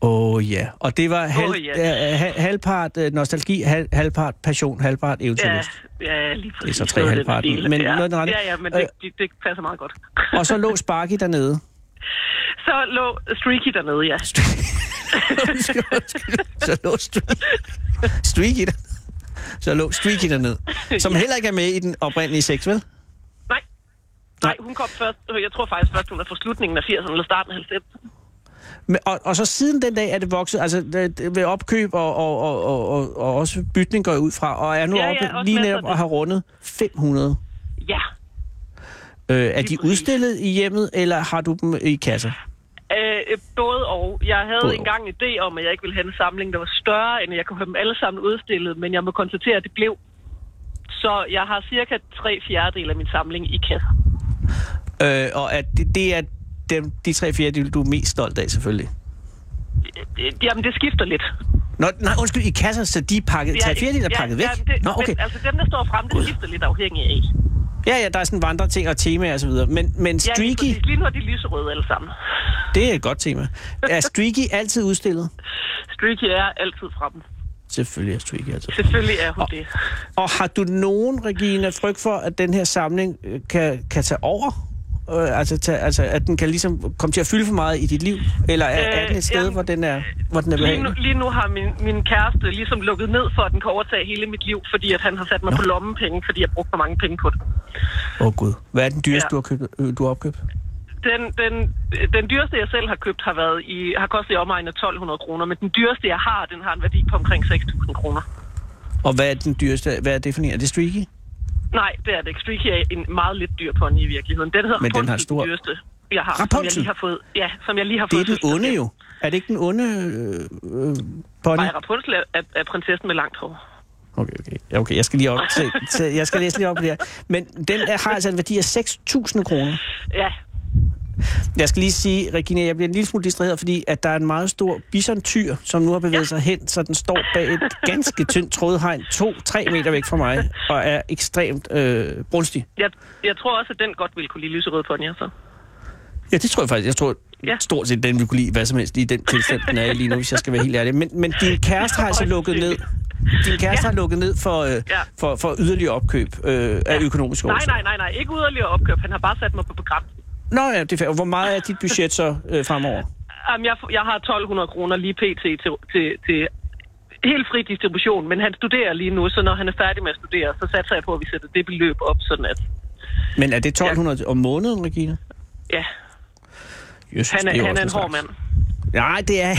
[SPEAKER 4] Åh oh, ja, yeah. og det var halv, oh,
[SPEAKER 2] Åh,
[SPEAKER 4] yeah.
[SPEAKER 2] ja.
[SPEAKER 4] uh, halvpart uh, nostalgi, hal, halvpart passion, halvpart
[SPEAKER 2] Ja,
[SPEAKER 4] eventyrlyst.
[SPEAKER 2] ja, lige præcis.
[SPEAKER 4] så tre
[SPEAKER 2] var den
[SPEAKER 4] halvparten,
[SPEAKER 2] del.
[SPEAKER 4] men
[SPEAKER 2] ja.
[SPEAKER 4] noget i den retning.
[SPEAKER 2] ja, ja, men
[SPEAKER 4] Øh.
[SPEAKER 2] det, det, det passer meget godt.
[SPEAKER 4] Yeah. Og så lå Sparky dernede.
[SPEAKER 2] [laughs] Så lå Streaky dernede, ja.
[SPEAKER 4] [laughs] så lå Streaky, Streaky der. Så lå Streaky dernede. Som
[SPEAKER 2] Ja.
[SPEAKER 4] heller ikke er med i den oprindelige seks, vel?
[SPEAKER 2] Nej. Nej, hun kom først. Jeg tror faktisk først, hun er fra slutningen af 80'erne eller starten af 90'erne.
[SPEAKER 4] Men, og, og så siden den dag er det vokset, altså det, det, ved opkøb og, og, og, og, og, og også bytning går jeg ud fra, og er nu
[SPEAKER 2] Ja,
[SPEAKER 4] ja,
[SPEAKER 2] ja,
[SPEAKER 4] oppe ja,
[SPEAKER 2] også
[SPEAKER 4] lige
[SPEAKER 2] masser
[SPEAKER 4] netop
[SPEAKER 2] af
[SPEAKER 4] og har rundet 500.
[SPEAKER 2] Ja.
[SPEAKER 4] Øh, er de
[SPEAKER 2] Lige præcis.
[SPEAKER 4] udstillet i hjemmet, eller har du dem i kasser?
[SPEAKER 2] Øh, både og. Jeg havde
[SPEAKER 4] Både
[SPEAKER 2] både engang en idé om, at jeg ikke ville have en samling, der var større, end at jeg kunne have dem alle sammen udstillet, men jeg må konstatere, at det blev. Så jeg har cirka tre fjerdedel af min samling i kasser.
[SPEAKER 4] Øh, og at det, det er dem, de tre fjerdedele, du er mest stolt af, selvfølgelig.
[SPEAKER 2] Øh, Jamen, det skifter lidt.
[SPEAKER 4] Nå, nej, undskyld, i kasser, så de er pakket, ja, tre fjerdedele er pakket væk?
[SPEAKER 2] det,
[SPEAKER 4] Nå, okay.
[SPEAKER 2] Men, altså, dem, der står frem, det skifter lidt afhængig af.
[SPEAKER 4] Ja, ja, der er sådan vandre ting og temaer og så videre. Men, men
[SPEAKER 2] Ja, lige,
[SPEAKER 4] Streaky,
[SPEAKER 2] præcis. lige nu er de lyserøde alle sammen.
[SPEAKER 4] det er et godt tema.
[SPEAKER 2] [laughs]
[SPEAKER 4] Er Streaky altid udstillet?
[SPEAKER 2] Streaky er altid fremme.
[SPEAKER 4] Selvfølgelig er Streaky altid.
[SPEAKER 2] Selvfølgelig er hun det.
[SPEAKER 4] Og har du nogen, Regina, frygt for, at den her samling øh, kan, kan tage over? Øh, altså, tage, altså, at den kan ligesom komme til at fylde for meget i dit liv? Eller er, øh,
[SPEAKER 2] Øh,
[SPEAKER 4] er den et sted,
[SPEAKER 2] jamen,
[SPEAKER 4] hvor den er, hvor den er
[SPEAKER 2] Lige nu,
[SPEAKER 4] behagelig?
[SPEAKER 2] lige nu har min, min kæreste ligesom lukket ned for, at den kan overtage hele mit liv, fordi at han har sat mig Nå. på lommepenge, fordi jeg brugte for mange penge på det.
[SPEAKER 4] Åh oh, gud. Hvad er den dyreste, ja. du,
[SPEAKER 2] Ja.
[SPEAKER 4] har købt, øh, du har opkøbt?
[SPEAKER 2] Den, den, den dyreste, jeg selv har købt, har, været i, har kostet i omegnen af 1200 kroner, men den dyreste, jeg har, den har en værdi på omkring 6000 kroner.
[SPEAKER 4] Og hvad er den dyreste? Hvad er det for en? Er det Streaky?
[SPEAKER 2] Nej, det er det ikke. Streaky er en meget lidt dyr pony i virkeligheden. Den hedder
[SPEAKER 4] Men den har
[SPEAKER 2] Rapunzel,
[SPEAKER 4] stor-
[SPEAKER 2] den dyreste, jeg har, som jeg
[SPEAKER 4] Rapunzel?
[SPEAKER 2] lige har fået. Ja, som jeg lige har
[SPEAKER 4] Det er
[SPEAKER 2] fået.
[SPEAKER 4] den
[SPEAKER 2] fødselsdagsgave.
[SPEAKER 4] onde jo. Er det ikke den onde øh, øh, pony?
[SPEAKER 2] Nej, Rapunzel er, er, er prinsessen med langt hår.
[SPEAKER 4] Okay, okay. Ja, Okay, jeg skal lige op
[SPEAKER 2] [laughs]
[SPEAKER 4] til, til, jeg skal læse lige op på det her. Men den er- har altså en værdi af 6.000 kroner.
[SPEAKER 2] Ja,
[SPEAKER 4] Jeg skal lige sige, Regina, jeg bliver en lille smule distraheret, fordi at der er en meget stor bisontyr, som nu har bevæget ja. sig hen, så den står bag et ganske tyndt trådhegn, to-tre meter væk fra mig, og er ekstremt øh, brunstig.
[SPEAKER 2] jeg, jeg tror også, at den godt ville kunne lide lyserøde ponyer, så.
[SPEAKER 4] Ja, det tror jeg faktisk. Jeg tror ja.
[SPEAKER 2] Ja.
[SPEAKER 4] stort set, den vi kunne lide hvad som helst i den tilstand, den er i lige nu, hvis jeg skal være helt ærlig. Men, men din kæreste har altså lukket ned. Din kæreste ja. har lukket ned for, øh, for, for yderligere opkøb øh, af økonomiske
[SPEAKER 2] Nej,
[SPEAKER 4] årsager.
[SPEAKER 2] nej, nej, nej. Ikke yderligere opkøb. Han har bare sat mig på begrænsen.
[SPEAKER 4] Nå ja, det er fair. Hvor meget er dit budget så øh, fremover?
[SPEAKER 2] Jamen, jeg, jeg har 1200 kroner lige pt. Til, til, til helt fri distribution, men han studerer lige nu, så når han er færdig med at studere, så satser jeg på, at vi sætter det beløb op, sådan at,
[SPEAKER 4] Men er det 1200 om måneden, Regina?
[SPEAKER 2] ja,
[SPEAKER 4] Jesus,
[SPEAKER 2] han
[SPEAKER 4] det
[SPEAKER 2] er, han
[SPEAKER 4] også
[SPEAKER 2] er en hård
[SPEAKER 4] slags.
[SPEAKER 2] mand.
[SPEAKER 4] Nej, det er...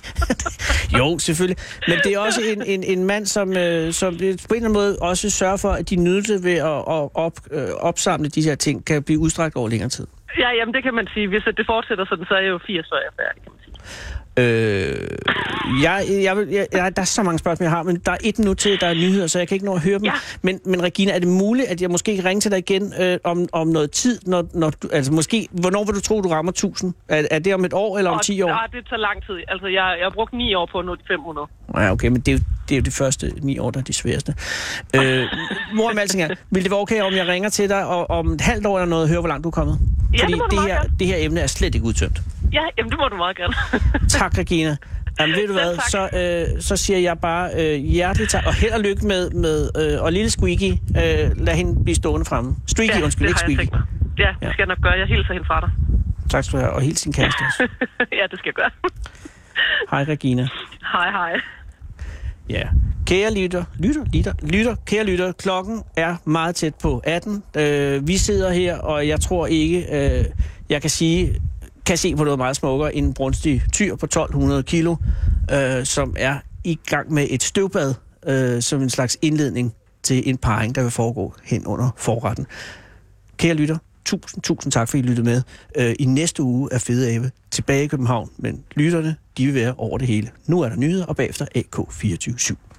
[SPEAKER 4] [laughs] jo, selvfølgelig. Men det er også en, en, en mand, som, øh, som på en eller anden måde også sørger for, at de nydelse ved at, at op, øh, opsamle de her ting kan blive udstrakt over længere tid.
[SPEAKER 2] Ja, jamen, det kan man sige. Hvis at det fortsætter sådan, så er jeg jo 80, før jeg er færdig, kan man sige.
[SPEAKER 4] Øh, jeg, jeg, vil- jeg, jeg, der er så mange spørgsmål, jeg har, men der er et minut til, der er nyheder, så jeg kan ikke nå at høre dem. Ja.
[SPEAKER 2] Ja.
[SPEAKER 4] Men, men Regina, er det muligt, at jeg måske kan ringe til dig igen øh, om, om noget tid? Når, når du, altså måske, hvornår vil du tro, du rammer 1000? Er, er det om et år eller om 10 år?
[SPEAKER 2] Nej, Ah, det tager lang tid. Altså, jeg, jeg har brugt 9 år på at nå de 500.
[SPEAKER 4] Ja, okay, men det er, jo, det er jo de første ni år, der er de sværeste. Øh, mor med alting er, vil det være okay, om jeg ringer til dig og, om et halvt år eller noget, og hører, hvor langt du er kommet?
[SPEAKER 2] Ja, det
[SPEAKER 4] Fordi
[SPEAKER 2] må du
[SPEAKER 4] det,
[SPEAKER 2] meget
[SPEAKER 4] her,
[SPEAKER 2] gerne.
[SPEAKER 4] det her emne er slet ikke udtømt.
[SPEAKER 2] Ja, jamen, det må du meget gerne.
[SPEAKER 4] Tak, Regina. Jamen,
[SPEAKER 2] [laughs]
[SPEAKER 4] ved du hvad, så,
[SPEAKER 2] Selv
[SPEAKER 4] øh, så siger jeg bare øh, hjerteligt tak, og held og lykke med, med øh, og lille Squeaky, øh, lad hende blive stående fremme. Streaky, ja, undskyld, [laughs]
[SPEAKER 2] det
[SPEAKER 4] ikke
[SPEAKER 2] har jeg
[SPEAKER 4] Squeaky.
[SPEAKER 2] tænkt mig. Ja, det
[SPEAKER 4] Ja.
[SPEAKER 2] skal jeg nok gøre. Jeg hilser hende fra dig.
[SPEAKER 4] Tak skal du have, og hils din kæreste
[SPEAKER 2] [laughs]
[SPEAKER 4] også.
[SPEAKER 2] ja, det skal jeg gøre.
[SPEAKER 4] Hej, Regina.
[SPEAKER 2] hej, hej.
[SPEAKER 4] Ja. Kære lytter, lytter, lytter, lytter, kære lytter, klokken er meget tæt på 18. Øh, vi sidder her, og jeg tror ikke, øh, jeg kan sige, kan se på noget meget smukkere end en brunstig tyr på 1200 kilo, øh, som er i gang med et støvbad, øh, som en slags indledning til en parring, der vil foregå hen under forretten. Kære lytter, tusind, tusind tak, fordi I lyttede med. Øh, I næste uge er Fede Abe tilbage i København, men lytterne, de vil være over det hele. Nu er der nyheder, og bagefter AK247.